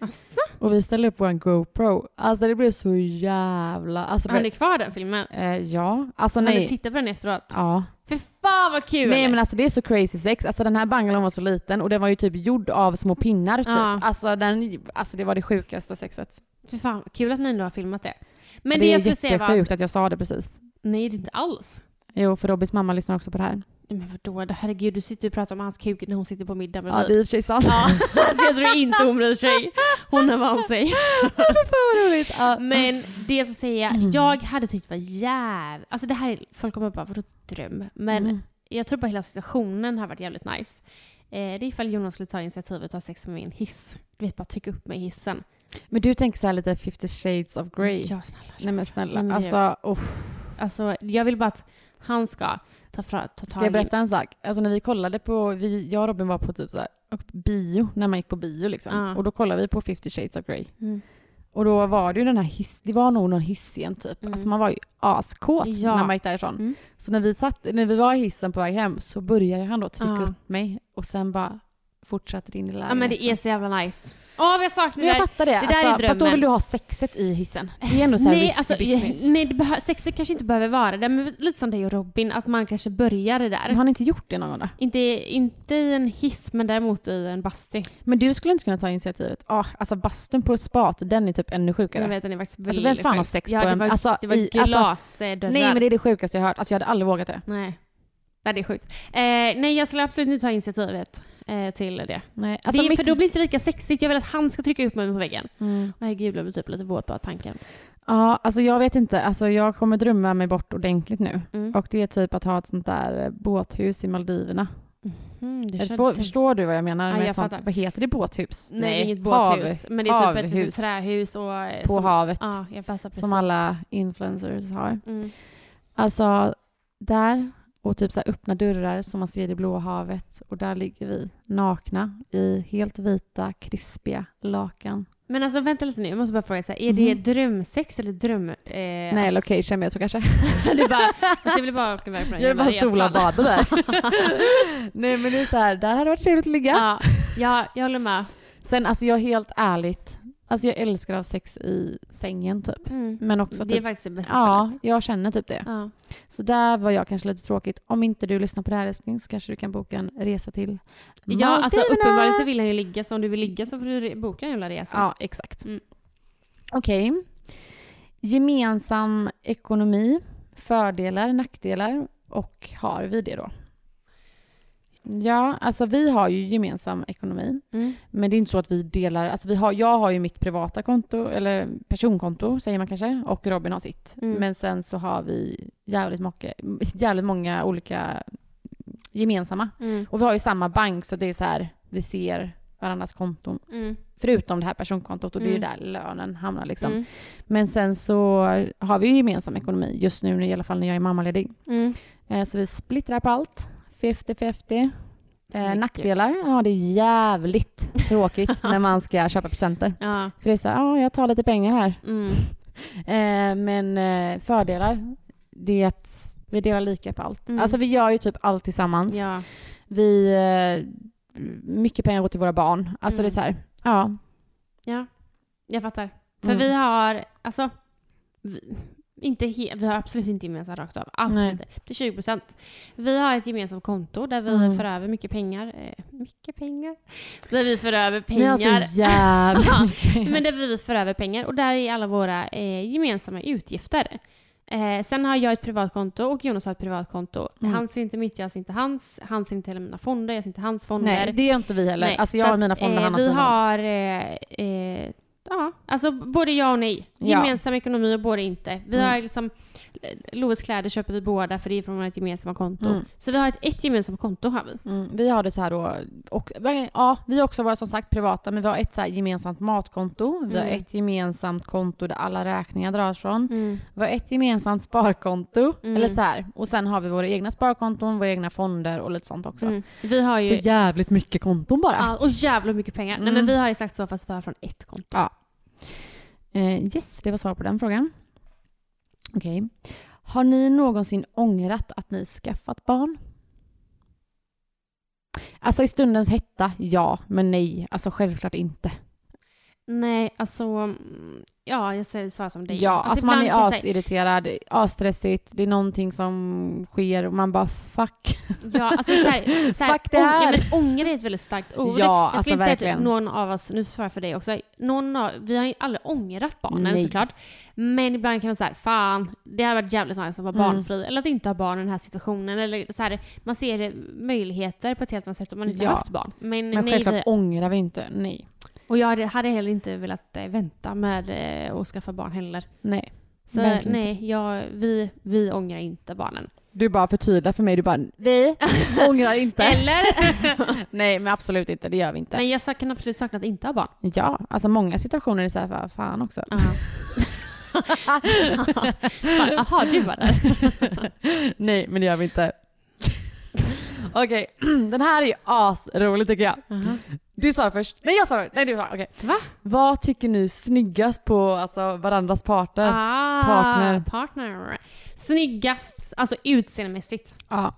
Speaker 2: Asså?
Speaker 3: Och vi ställde upp vår GoPro. Alltså det blev så jävla... Alltså,
Speaker 2: Har
Speaker 3: det,
Speaker 2: ni kvar den filmen?
Speaker 3: eh, ja, alltså
Speaker 2: Har ni
Speaker 3: nej.
Speaker 2: tittat på den efteråt?
Speaker 3: Ja.
Speaker 2: Fy fan vad kul!
Speaker 3: Nej men alltså det är så crazy sex. Alltså den här bungalown var så liten och den var ju typ gjord av små pinnar typ.
Speaker 2: Ja.
Speaker 3: Alltså, den, alltså det var det sjukaste sexet.
Speaker 2: Fy fan vad kul att ni ändå har filmat det. Men
Speaker 3: Men
Speaker 2: det,
Speaker 3: det,
Speaker 2: jag
Speaker 3: är
Speaker 2: skulle säga var...
Speaker 3: jättesjukt att jag sa det precis.
Speaker 2: Nej, det är inte alls.
Speaker 3: Jo, för Robins mamma lyssnar också på det här.
Speaker 2: Nej, Men vadå? Det- Herregud, du sitter och pratar om hans kuk när hon sitter på middag med
Speaker 3: Ja, det är i
Speaker 2: dig.
Speaker 3: och för sig sant.
Speaker 2: Ja, alltså jag tror inte hon bryr sig. Hon har vant sig.
Speaker 3: roligt. Ja. Mm.
Speaker 2: Men det jag ska säga, jag hade tyckt det var jäv... Alltså det här, är- folk kommer bara, vadå dröm? Men
Speaker 3: Mm.
Speaker 2: jag tror bara hela situationen har varit jävligt nice. Eh, det är ifall Jonas skulle ta initiativet och ha sex med mig i en hiss. Du vet, bara trycka upp mig i hissen.
Speaker 3: Men du tänker så här lite 50 shades of grey.
Speaker 2: Ja, snälla.
Speaker 3: Nej men snälla,
Speaker 2: Nej, men det-
Speaker 3: alltså oh.
Speaker 2: Alltså, jag vill bara att han ska ta, fra, ta tag
Speaker 3: Ska jag berätta en sak? Alltså när vi kollade på, vi, jag och Robin var på typ så här, och bio, när man gick på bio liksom.
Speaker 2: Ja.
Speaker 3: Och då kollade vi på 50 shades of grey.
Speaker 2: Mm.
Speaker 3: Och då var det ju den här hiss, det var nog någon hiss igen typ.
Speaker 2: Mm.
Speaker 3: Alltså man var ju askåt
Speaker 2: Ja.
Speaker 3: när man gick därifrån.
Speaker 2: Mm.
Speaker 3: Så när vi, satt, när vi var i hissen på väg hem så började han då trycka
Speaker 2: Ja.
Speaker 3: upp mig och sen bara fortsatte det in i
Speaker 2: Ja men det är så jävla nice. Åh vad jag saknar
Speaker 3: Men jag
Speaker 2: det.
Speaker 3: fattar det.
Speaker 2: där är
Speaker 3: alltså, fast då
Speaker 2: drömmen.
Speaker 3: vill du ha sexet i hissen. Det är ändå så här
Speaker 2: Nej,
Speaker 3: risky
Speaker 2: alltså,
Speaker 3: business.
Speaker 2: nej det behö- sexet kanske inte behöver vara det, men lite som dig och Robin, att man kanske börjar det där.
Speaker 3: Har ni inte gjort det någon gång då?
Speaker 2: Inte, inte i en hiss, men däremot i en bastu.
Speaker 3: Men du skulle inte kunna ta initiativet? Ah, alltså bastun på spat, den är typ ännu sjukare.
Speaker 2: Jag vet, den är faktiskt
Speaker 3: Alltså, vem
Speaker 2: väldigt
Speaker 3: fan har
Speaker 2: sjuk.
Speaker 3: sex
Speaker 2: ja,
Speaker 3: på
Speaker 2: det
Speaker 3: en-
Speaker 2: Var,
Speaker 3: alltså,
Speaker 2: det var
Speaker 3: i- alltså-
Speaker 2: glasdörrar.
Speaker 3: Nej men det är det sjukaste jag har hört. Alltså jag hade aldrig vågat det.
Speaker 2: Nej. Nej, det är sjukt. Eh, nej, jag skulle absolut inte ta initiativet eh, till det.
Speaker 3: Nej, alltså
Speaker 2: det är,
Speaker 3: mitt-
Speaker 2: För då blir det inte lika sexigt. Jag vill att han ska trycka upp mig på väggen.
Speaker 3: Mm.
Speaker 2: Och herregud, jag blir typ lite våt bara av tanken.
Speaker 3: Ja, alltså jag vet inte. Alltså jag kommer drömma mig bort ordentligt nu.
Speaker 2: Mm.
Speaker 3: Och det är typ att ha ett sånt där eh, båthus i Maldiverna.
Speaker 2: Mm, du
Speaker 3: Jag
Speaker 2: kör
Speaker 3: får,
Speaker 2: du-
Speaker 3: förstår du vad jag menar?
Speaker 2: Ja,
Speaker 3: med
Speaker 2: jag
Speaker 3: ett sånt,
Speaker 2: fattar.
Speaker 3: vad heter det? Båthus?
Speaker 2: Nej, det är inget båthus. men det är typ ett litet
Speaker 3: havhus.
Speaker 2: trähus och...
Speaker 3: På havet.
Speaker 2: Ja, jag fattar precis.
Speaker 3: som alla influencers har.
Speaker 2: Mm.
Speaker 3: Alltså där och typ så här öppna dörrar som man ser i blå havet och där ligger vi nakna i helt vita krispiga lakan.
Speaker 2: Men alltså vänta lite nu, jag måste bara fråga så här, är det
Speaker 3: Mhm.
Speaker 2: drömsex eller dröm... Eh,
Speaker 3: Nej,
Speaker 2: ass-
Speaker 3: location men jag tror kanske.
Speaker 2: det bara, alltså jag ville bara åka iväg på den
Speaker 3: Jag vill
Speaker 2: jävla
Speaker 3: bara sola och
Speaker 2: resan.
Speaker 3: bada där. Nej men det är så här, där hade det varit trevligt att ligga.
Speaker 2: Ja, ja, jag håller med.
Speaker 3: Sen alltså jag är helt ärligt, alltså jag älskar att ha sex i sängen typ. Men också
Speaker 2: det är
Speaker 3: typ,
Speaker 2: faktiskt det bästa
Speaker 3: ja,
Speaker 2: stället.
Speaker 3: jag känner typ det.
Speaker 2: Ja.
Speaker 3: Så där var jag kanske lite tråkigt. Om inte du lyssnar på det här älskling så kanske du kan boka en resa till
Speaker 2: ja, alltså
Speaker 3: Maldiverna.
Speaker 2: uppenbarligen så vill han ju ligga, så om du vill ligga så får du re- boka en jävla resa.
Speaker 3: Ja, exakt.
Speaker 2: Mm.
Speaker 3: Okej. Gemensam ekonomi, fördelar, nackdelar och har vi det då? Ja, alltså vi har ju gemensam ekonomi,
Speaker 2: Mm.
Speaker 3: men det är inte så att vi delar, alltså vi har, jag har ju mitt privata konto, eller personkonto säger man kanske, och Robin har sitt.
Speaker 2: Mm.
Speaker 3: Men sen så har vi jävligt, många, jävligt många olika gemensamma.
Speaker 2: Mm.
Speaker 3: Och vi har ju samma bank, så det är så här, vi ser varandras konton
Speaker 2: Mm.
Speaker 3: Förutom det här personkontot och det är ju
Speaker 2: Mm.
Speaker 3: där lönen hamnar. Liksom.
Speaker 2: Mm.
Speaker 3: Men sen så har vi ju gemensam ekonomi just nu i alla fall när jag är mammaledig.
Speaker 2: Mm.
Speaker 3: Eh, Så vi splittrar på allt. 50-50. Eh,
Speaker 2: Mycket.
Speaker 3: nackdelar? Ja, det är jävligt tråkigt när man ska köpa presenter.
Speaker 2: Ja.
Speaker 3: För det är så här, ja, jag tar lite pengar här.
Speaker 2: Mm.
Speaker 3: Eh, men eh, fördelar, det är att Vi delar lika på allt.
Speaker 2: Mm.
Speaker 3: Alltså vi gör ju typ allt tillsammans.
Speaker 2: Ja.
Speaker 3: Vi, eh, mycket pengar går till våra barn. Alltså
Speaker 2: Mm.
Speaker 3: det är så här, ja.
Speaker 2: Ja, jag fattar. För
Speaker 3: Mm.
Speaker 2: vi har, alltså, vi, inte he, vi har absolut inte gemensamt rakt av.
Speaker 3: Nej.
Speaker 2: Absolut inte. Det är 20 procent. Vi har ett gemensamt konto där vi
Speaker 3: Mm.
Speaker 2: för över mycket pengar. Eh, mycket pengar? Där vi för över
Speaker 3: Ni har
Speaker 2: pengar.
Speaker 3: så jävla
Speaker 2: Ja,
Speaker 3: mycket.
Speaker 2: Men där vi för över pengar och där är alla våra eh, gemensamma utgifter. Eh, sen har jag ett privatkonto och Jonas har ett privatkonto.
Speaker 3: Mm.
Speaker 2: Han ser inte mitt, jag ser inte hans. Han ser inte heller mina fonder, jag ser inte hans fonder.
Speaker 3: Nej, det gör inte vi heller.
Speaker 2: Nej,
Speaker 3: alltså jag
Speaker 2: så
Speaker 3: har
Speaker 2: att,
Speaker 3: mina fonder,
Speaker 2: eh,
Speaker 3: han har
Speaker 2: Vi
Speaker 3: sina.
Speaker 2: har... Eh, eh, ja, alltså både ja och nej.
Speaker 3: Ja.
Speaker 2: Gemensam ekonomi och både inte. Vi
Speaker 3: Mm.
Speaker 2: har liksom... Loves kläder köper vi båda för det är från vårt gemensamma konto.
Speaker 3: Mm.
Speaker 2: Så vi har ett, ett gemensamt konto har vi.
Speaker 3: Mm, vi har det så här då, och, ja, vi har också våra som sagt privata, men vi har ett så här gemensamt matkonto, vi har
Speaker 2: Mm.
Speaker 3: ett gemensamt konto där alla räkningar dras från, vi har ett gemensamt sparkonto,
Speaker 2: Mm.
Speaker 3: eller så här, och sen har vi våra egna sparkonton, våra egna fonder och lite sånt också.
Speaker 2: Mm. Vi har ju...
Speaker 3: Så jävligt mycket konton bara.
Speaker 2: Ja, och jävla mycket pengar. Nej
Speaker 3: Mm.
Speaker 2: men vi har exakt så fast vi har från ett konto.
Speaker 3: Ja. Eh, yes, det var svar på den frågan. Okej. Har ni någonsin ångrat att ni skaffat barn? Alltså i stundens hetta, ja. Men nej, alltså självklart inte.
Speaker 2: Nej, alltså... mm, Ja, jag säger svar som dig.
Speaker 3: Ja, alltså, man
Speaker 2: ibland kan
Speaker 3: är
Speaker 2: jag säga-
Speaker 3: asirriterad, asstressigt, det är någonting som sker och man bara fuck.
Speaker 2: Ja, alltså så här, så här,
Speaker 3: Fuck det här.
Speaker 2: ång- ja, men ånger är ett väldigt starkt ord.
Speaker 3: Ja,
Speaker 2: jag
Speaker 3: alltså
Speaker 2: skulle inte
Speaker 3: verkligen.
Speaker 2: säga att någon av oss, nu svarar jag för dig också, någon av, vi har ju aldrig ångrat barnen
Speaker 3: Nej.
Speaker 2: såklart. Men ibland kan man säga fan, det hade varit jävligt nice att vara
Speaker 3: Mm.
Speaker 2: barnfri. Eller att inte ha barn i den här situationen. Eller så här, man ser eh, möjligheter på ett helt annat sätt om man inte
Speaker 3: Ja.
Speaker 2: har haft barn. Men,
Speaker 3: Men
Speaker 2: nej,
Speaker 3: självklart
Speaker 2: vi,
Speaker 3: ångrar vi inte. Nej.
Speaker 2: och jag hade, hade heller inte velat eh, vänta med eh, att skaffa barn heller.
Speaker 3: Nej.
Speaker 2: Så
Speaker 3: Verkligen
Speaker 2: nej, jag, vi, vi ångrar inte barnen.
Speaker 3: Du bara förtydligar för mig, du bara vi ångrar inte.
Speaker 2: Eller?
Speaker 3: nej, men absolut inte. Det gör vi inte.
Speaker 2: men jag sa- kan absolut sakna att inte ha barn.
Speaker 3: Ja, alltså många situationer är så här, "Vad fan också.
Speaker 2: Fan, Aha, du var där.
Speaker 3: Nej, men det gör vi inte. Okej, den här är ju asrolig tycker jag. Du svarar först. Nej, jag svarar. Nej, du svarar. Okej.
Speaker 2: Va?
Speaker 3: Vad tycker ni är snyggast på alltså, varandras parter?
Speaker 2: Ah,
Speaker 3: Partner.
Speaker 2: partner. Snyggast, alltså utseendemässigt.
Speaker 3: Ja.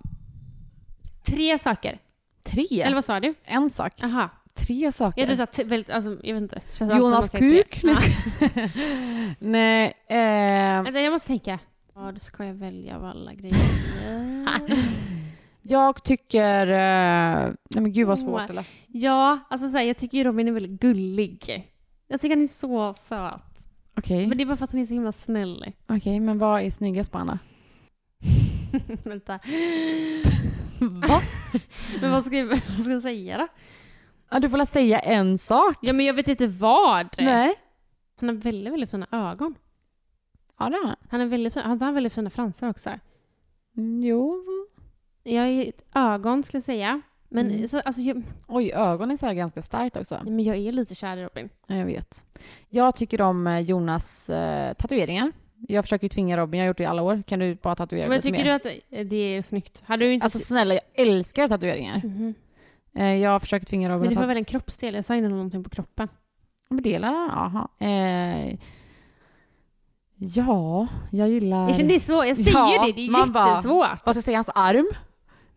Speaker 2: Tre saker.
Speaker 3: Tre?
Speaker 2: Eller vad sa du?
Speaker 3: en sak.
Speaker 2: Aha.
Speaker 3: Tre saker.
Speaker 2: Jag tror du sa t- väldigt, alltså, jag vet inte. Känns alltid som man
Speaker 3: Jonas
Speaker 2: säger tre.
Speaker 3: Kuk? liksom. Nej,
Speaker 2: Ja.
Speaker 3: ska- Nej, eh,
Speaker 2: Vänta, jag måste tänka. Ja, då ska jag välja av alla grejer.
Speaker 3: jag tycker... Eh, nej men gud vad
Speaker 2: Oh.
Speaker 3: svårt. Eller?
Speaker 2: ja, alltså så här, jag tycker ju Robin är väldigt gullig. Jag tycker han är så söt.
Speaker 3: Okej,
Speaker 2: Men det är bara för att han är så himla snäll.
Speaker 3: Okej, men vad är snyggast på Anna?
Speaker 2: Vänta.
Speaker 3: Va?
Speaker 2: Men vad ska, jag, vad ska jag säga då?
Speaker 3: Ja, du får väl säga en sak?
Speaker 2: Ja, men jag vet inte vad.
Speaker 3: Nej.
Speaker 2: Han har väldigt, väldigt fina ögon.
Speaker 3: Ja, det har han.
Speaker 2: Han har väldigt fina, han har väldigt fina fransar också.
Speaker 3: Mm, Jo.
Speaker 2: Jag är ögon skulle jag säga. Men,
Speaker 3: Mm.
Speaker 2: så, alltså, jag,
Speaker 3: Oj, ögonen är så här ganska starkt också.
Speaker 2: men jag är lite kär i Robin.
Speaker 3: Ja, Jag vet. Jag tycker om eh, Jonas eh, tatueringar. Jag försöker ju tvinga Robin, jag har gjort det i alla år. Kan du bara tatuera
Speaker 2: Men
Speaker 3: lite
Speaker 2: tycker
Speaker 3: mer?
Speaker 2: du att eh, det är snyggt? Hade du inte...
Speaker 3: Alltså snälla, jag älskar tatueringar.
Speaker 2: Mhm.
Speaker 3: Eh, jag försöker tvinga Robin
Speaker 2: Men du får
Speaker 3: att
Speaker 2: väl en kroppsdel? Jag sa innan någonting på kroppen.
Speaker 3: fördela. Jaha. Eh, ja, jag gillar...
Speaker 2: Jag känner det är svårt. Jag säger
Speaker 3: Ja,
Speaker 2: det, det är
Speaker 3: man bara-
Speaker 2: jättesvårt.
Speaker 3: Vad ska jag säga? Hans arm?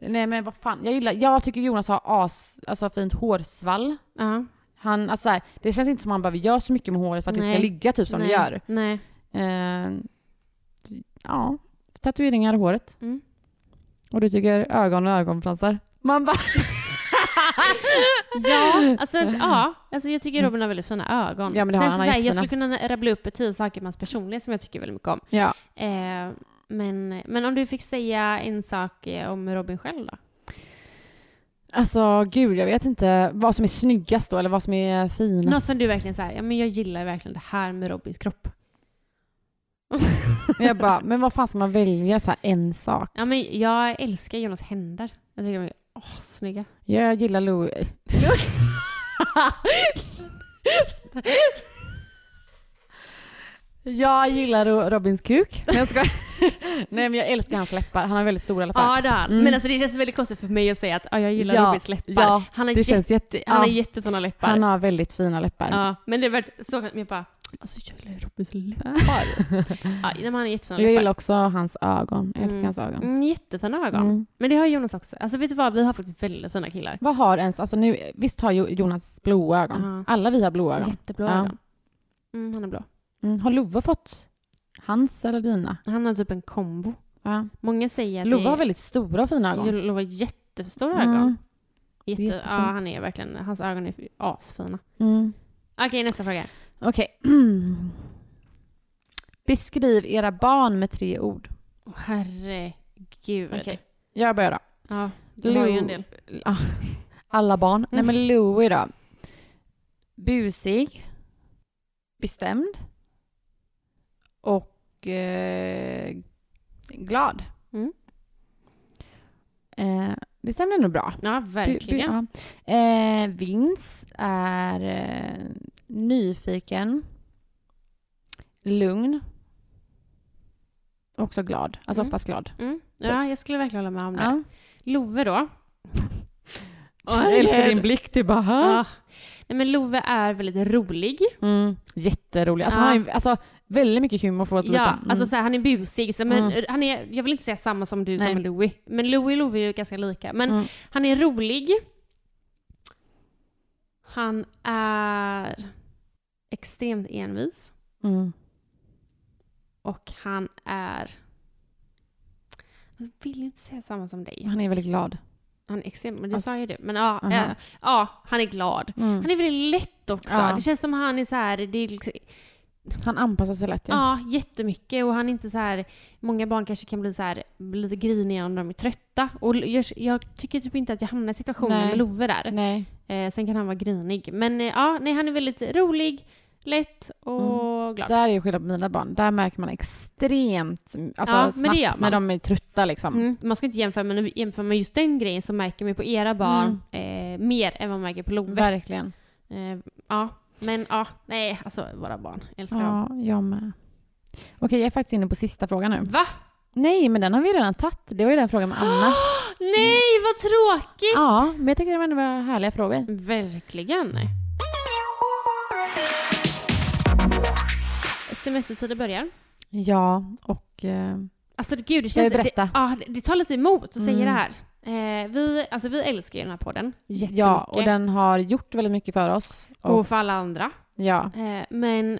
Speaker 3: Nej men vad fan. Jag, gillar, jag tycker Jonas har as, alltså fint hårsvall.
Speaker 2: Ja.
Speaker 3: Han, alltså så här, det känns inte som att han behöver göra så mycket med håret för att det
Speaker 2: Nej.
Speaker 3: ska ligga typ som
Speaker 2: Nej.
Speaker 3: det gör.
Speaker 2: Nej.
Speaker 3: Eh, ja, tatueringar i håret.
Speaker 2: Mm.
Speaker 3: Och du tycker ögon och ögonfransar? Man bara...
Speaker 2: Ja, alltså, ja, alltså jag tycker Robin har väldigt fina ögon.
Speaker 3: Mm. Ja, men det har
Speaker 2: Sen så så
Speaker 3: han, han har
Speaker 2: här, jag
Speaker 3: jättefina.
Speaker 2: skulle kunna rabbla upp tio saker med hans personlighet som jag tycker väldigt mycket om.
Speaker 3: ja.
Speaker 2: Eh, men, men om du fick säga en sak eh, om Robin själv då?
Speaker 3: Alltså gud, jag vet inte vad som är snyggast då eller vad som är finast.
Speaker 2: Något som du verkligen säger, ja men jag gillar verkligen det här med Robins kropp.
Speaker 3: Jag bara, men vad fan ska man välja så här en sak?
Speaker 2: Ja men jag älskar Jonas händer. Jag tycker de är åh, snygga.
Speaker 3: Jag gillar Louis. Jag gillar Ro- Robins kuk. Men jag ska... Nej men jag älskar hans läppar. Han har väldigt stora läppar.
Speaker 2: Ja det har han.
Speaker 3: Mm.
Speaker 2: Men alltså det känns väldigt konstigt för mig att säga att ja, jag gillar
Speaker 3: Ja,
Speaker 2: Robins läppar.
Speaker 3: ja,
Speaker 2: han har,
Speaker 3: det känns jätte-
Speaker 2: han har
Speaker 3: ja.
Speaker 2: jättetunna läppar.
Speaker 3: Han har väldigt fina läppar.
Speaker 2: ja, men det var så men jag bara, alltså jag gillar Robins läppar. ja, nej, men han har jättetunna
Speaker 3: jag
Speaker 2: läppar.
Speaker 3: gillar också hans ögon. Jag älskar
Speaker 2: Mm.
Speaker 3: hans ögon.
Speaker 2: Mm, jättefina ögon.
Speaker 3: Mm.
Speaker 2: Men det har Jonas också. Alltså vet du vad, vi har faktiskt väldigt fina killar.
Speaker 3: Vad har ens, alltså nu, visst har Jo- Jonas blåa ögon?
Speaker 2: Ja.
Speaker 3: Alla vi har blåa ögon.
Speaker 2: Jätteblå
Speaker 3: Ja.
Speaker 2: ögon. Mm, han är blå.
Speaker 3: Mm. Har Love fått hans eller dina?
Speaker 2: Han har typ en kombo.
Speaker 3: Ja.
Speaker 2: Många säger att
Speaker 3: Love
Speaker 2: det
Speaker 3: har väldigt stora och fina ögon.
Speaker 2: Lova har jättestora
Speaker 3: Mm.
Speaker 2: ögon. Jätte, ja,
Speaker 3: jättefint.
Speaker 2: han är verkligen, hans ögon är asfina.
Speaker 3: Mm.
Speaker 2: Okej, nästa fråga.
Speaker 3: Okej. Beskriv era barn med tre ord.
Speaker 2: Åh, herregud.
Speaker 3: Okej. Jag börjar då.
Speaker 2: Ja, du har ju en del. Mm.
Speaker 3: Ah, Alla barn. Nej men Louie då. Busig. Bestämd. Och eh, glad.
Speaker 2: Mm.
Speaker 3: Eh, det stämmer nog bra.
Speaker 2: Ja,
Speaker 3: Bu- bu-
Speaker 2: verkligen.
Speaker 3: ja. eh, Vince är eh, nyfiken. Lugn. Också glad. Alltså
Speaker 2: Mm.
Speaker 3: oftast glad.
Speaker 2: Mm. Ja, jag skulle verkligen hålla med om det.
Speaker 3: Ja.
Speaker 2: Love då?
Speaker 3: Jag älskar din blick. Du bara, "Hä?"
Speaker 2: Ja. Ah. Nej, men Love är väldigt rolig.
Speaker 3: Mm, jätterolig. Alltså,
Speaker 2: Ja.
Speaker 3: han har ju, alltså, väldigt mycket humor för att
Speaker 2: Ja,
Speaker 3: liten. Mm.
Speaker 2: alltså så här, han är busig. Så, men,
Speaker 3: Mm.
Speaker 2: han är, jag vill inte säga samma som du
Speaker 3: Nej.
Speaker 2: som Louis. Men Louis och Love är ju ganska lika. Men
Speaker 3: Mm.
Speaker 2: han är rolig. Han är extremt envis.
Speaker 3: Mm.
Speaker 2: Och han är... Jag vill ju inte säga samma som dig.
Speaker 3: Han är väldigt glad.
Speaker 2: Han är extremt, men det
Speaker 3: Alltså-
Speaker 2: sa ju du. Men ja,
Speaker 3: Aha.
Speaker 2: eh, ja, han är glad.
Speaker 3: Mm.
Speaker 2: Han är väldigt lätt också.
Speaker 3: Ja.
Speaker 2: Det känns som han är så här, det är liksom,
Speaker 3: Han anpassar sig lätt. Ja.
Speaker 2: ja, jättemycket och han är inte så här, många barn kanske kan bli så här lite griniga om de är trötta. Och jag, jag tycker typ inte att jag hamnar i situationen
Speaker 3: Nej.
Speaker 2: med Love där.
Speaker 3: Nej.
Speaker 2: Eh, sen kan han vara grinig. Men eh, ja, nej, han är väldigt rolig, lätt och glad.
Speaker 3: Där är ju skillnad på mina barn. Där märker man extremt alltså,
Speaker 2: Ja, men
Speaker 3: snabbt
Speaker 2: det gör man.
Speaker 3: när de är trötta. Liksom.
Speaker 2: Mm. Man ska inte jämföra, men jämför man just den grejen så märker man ju på era barn
Speaker 3: Mm.
Speaker 2: eh, mer än vad man märker på Love.
Speaker 3: Verkligen.
Speaker 2: Eh, ja, men ja, nej, alltså våra barn. Älskar dem.
Speaker 3: Ja, jag med. Okej, jag är faktiskt inne på sista frågan nu.
Speaker 2: Va?
Speaker 3: Nej, men den har vi redan tagit. Det var ju den frågan med Anna.
Speaker 2: Nej, vad tråkigt!
Speaker 3: ja, men jag tycker det var ändå härliga frågor.
Speaker 2: Verkligen. Semestertider börjar.
Speaker 3: Ja, och... Eh,
Speaker 2: Alltså gud, det
Speaker 3: Ska vi
Speaker 2: känns...
Speaker 3: berätta?
Speaker 2: Det, ja, det- det tar lite emot att säga
Speaker 3: Mm.
Speaker 2: det här. Eh, vi, alltså, vi älskar ju den här podden jättemycket.
Speaker 3: ja, och den har gjort väldigt mycket för oss. Och,
Speaker 2: Och för alla andra.
Speaker 3: Ja.
Speaker 2: Eh, men,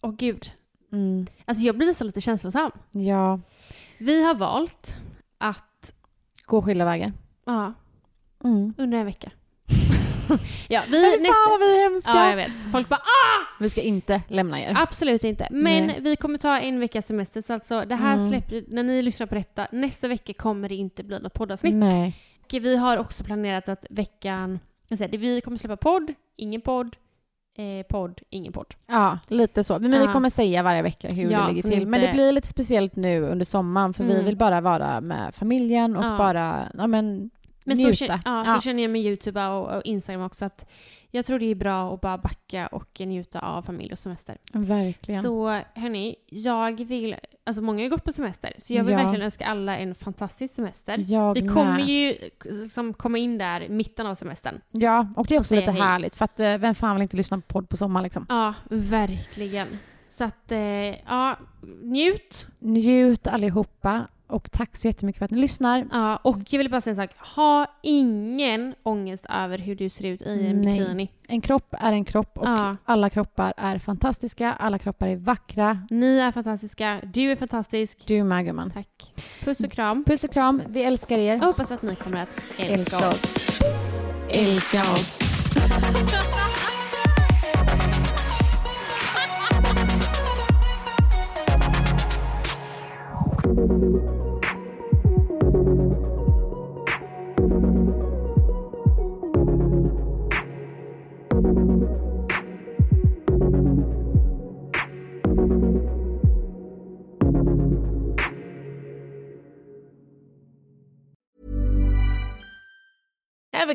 Speaker 2: åh gud.
Speaker 3: Mm,
Speaker 2: Alltså jag blir nästan lite känslosam.
Speaker 3: ja.
Speaker 2: Vi har valt att,
Speaker 3: Gå skilda vägar.
Speaker 2: ja,
Speaker 3: Mm.
Speaker 2: under en vecka. ja, vi...
Speaker 3: Men fan vad vi är hemska!
Speaker 2: ja, jag vet. Folk bara "Ah!"
Speaker 3: Vi ska inte lämna er.
Speaker 2: Absolut inte. Men
Speaker 3: Nej.
Speaker 2: vi kommer ta en veckas semester. Så alltså det här
Speaker 3: Mm.
Speaker 2: släpper, när ni lyssnar på detta, nästa vecka kommer det inte bli något poddavsnitt.
Speaker 3: Nej.
Speaker 2: Och vi har också planerat att veckan, jag säger, det- vi kommer släppa podd, ingen podd, eh, podd, ingen podd.
Speaker 3: Ja, lite så. Men vi
Speaker 2: Ja.
Speaker 3: kommer säga varje vecka hur
Speaker 2: Ja,
Speaker 3: det ligger
Speaker 2: så
Speaker 3: till. Men det
Speaker 2: inte-
Speaker 3: blir lite speciellt nu under sommaren för vi
Speaker 2: Mm.
Speaker 3: vill bara vara med familjen och
Speaker 2: Ja.
Speaker 3: bara ja, men,
Speaker 2: Men så,
Speaker 3: njuta.
Speaker 2: känner, ja, så känner jag med YouTube och, och Instagram också att jag tror det är bra att bara backa och njuta av familj och semester.
Speaker 3: verkligen.
Speaker 2: Så hörni, jag vill, alltså många har ju gått på semester, så jag vill
Speaker 3: Ja.
Speaker 2: verkligen önska alla en fantastisk semester.
Speaker 3: jag
Speaker 2: Vi
Speaker 3: med.
Speaker 2: kommer ju liksom komma in där i mitten av semestern.
Speaker 3: Ja, och det är också
Speaker 2: säga
Speaker 3: lite
Speaker 2: hej.
Speaker 3: härligt för att eh, vem fan vill inte lyssna på podd på sommaren liksom.
Speaker 2: Ja, verkligen. Så att, eh, ja, njut.
Speaker 3: Njut allihopa och tack så jättemycket för att ni lyssnar.
Speaker 2: Ja, och jag vill bara säga en sak. Ha ingen ångest över hur du ser ut i en
Speaker 3: Nej.
Speaker 2: bikini.
Speaker 3: En kropp är en kropp och
Speaker 2: Ja.
Speaker 3: alla kroppar är fantastiska, alla kroppar är vackra.
Speaker 2: Ni är fantastiska. Du är fantastisk.
Speaker 3: Du med gumman.
Speaker 2: Tack. Puss och kram.
Speaker 3: Puss och kram, vi älskar er.
Speaker 2: Jag hoppas att ni kommer att älska
Speaker 3: Älska
Speaker 2: oss.
Speaker 3: oss.
Speaker 4: Älska oss.
Speaker 1: Ever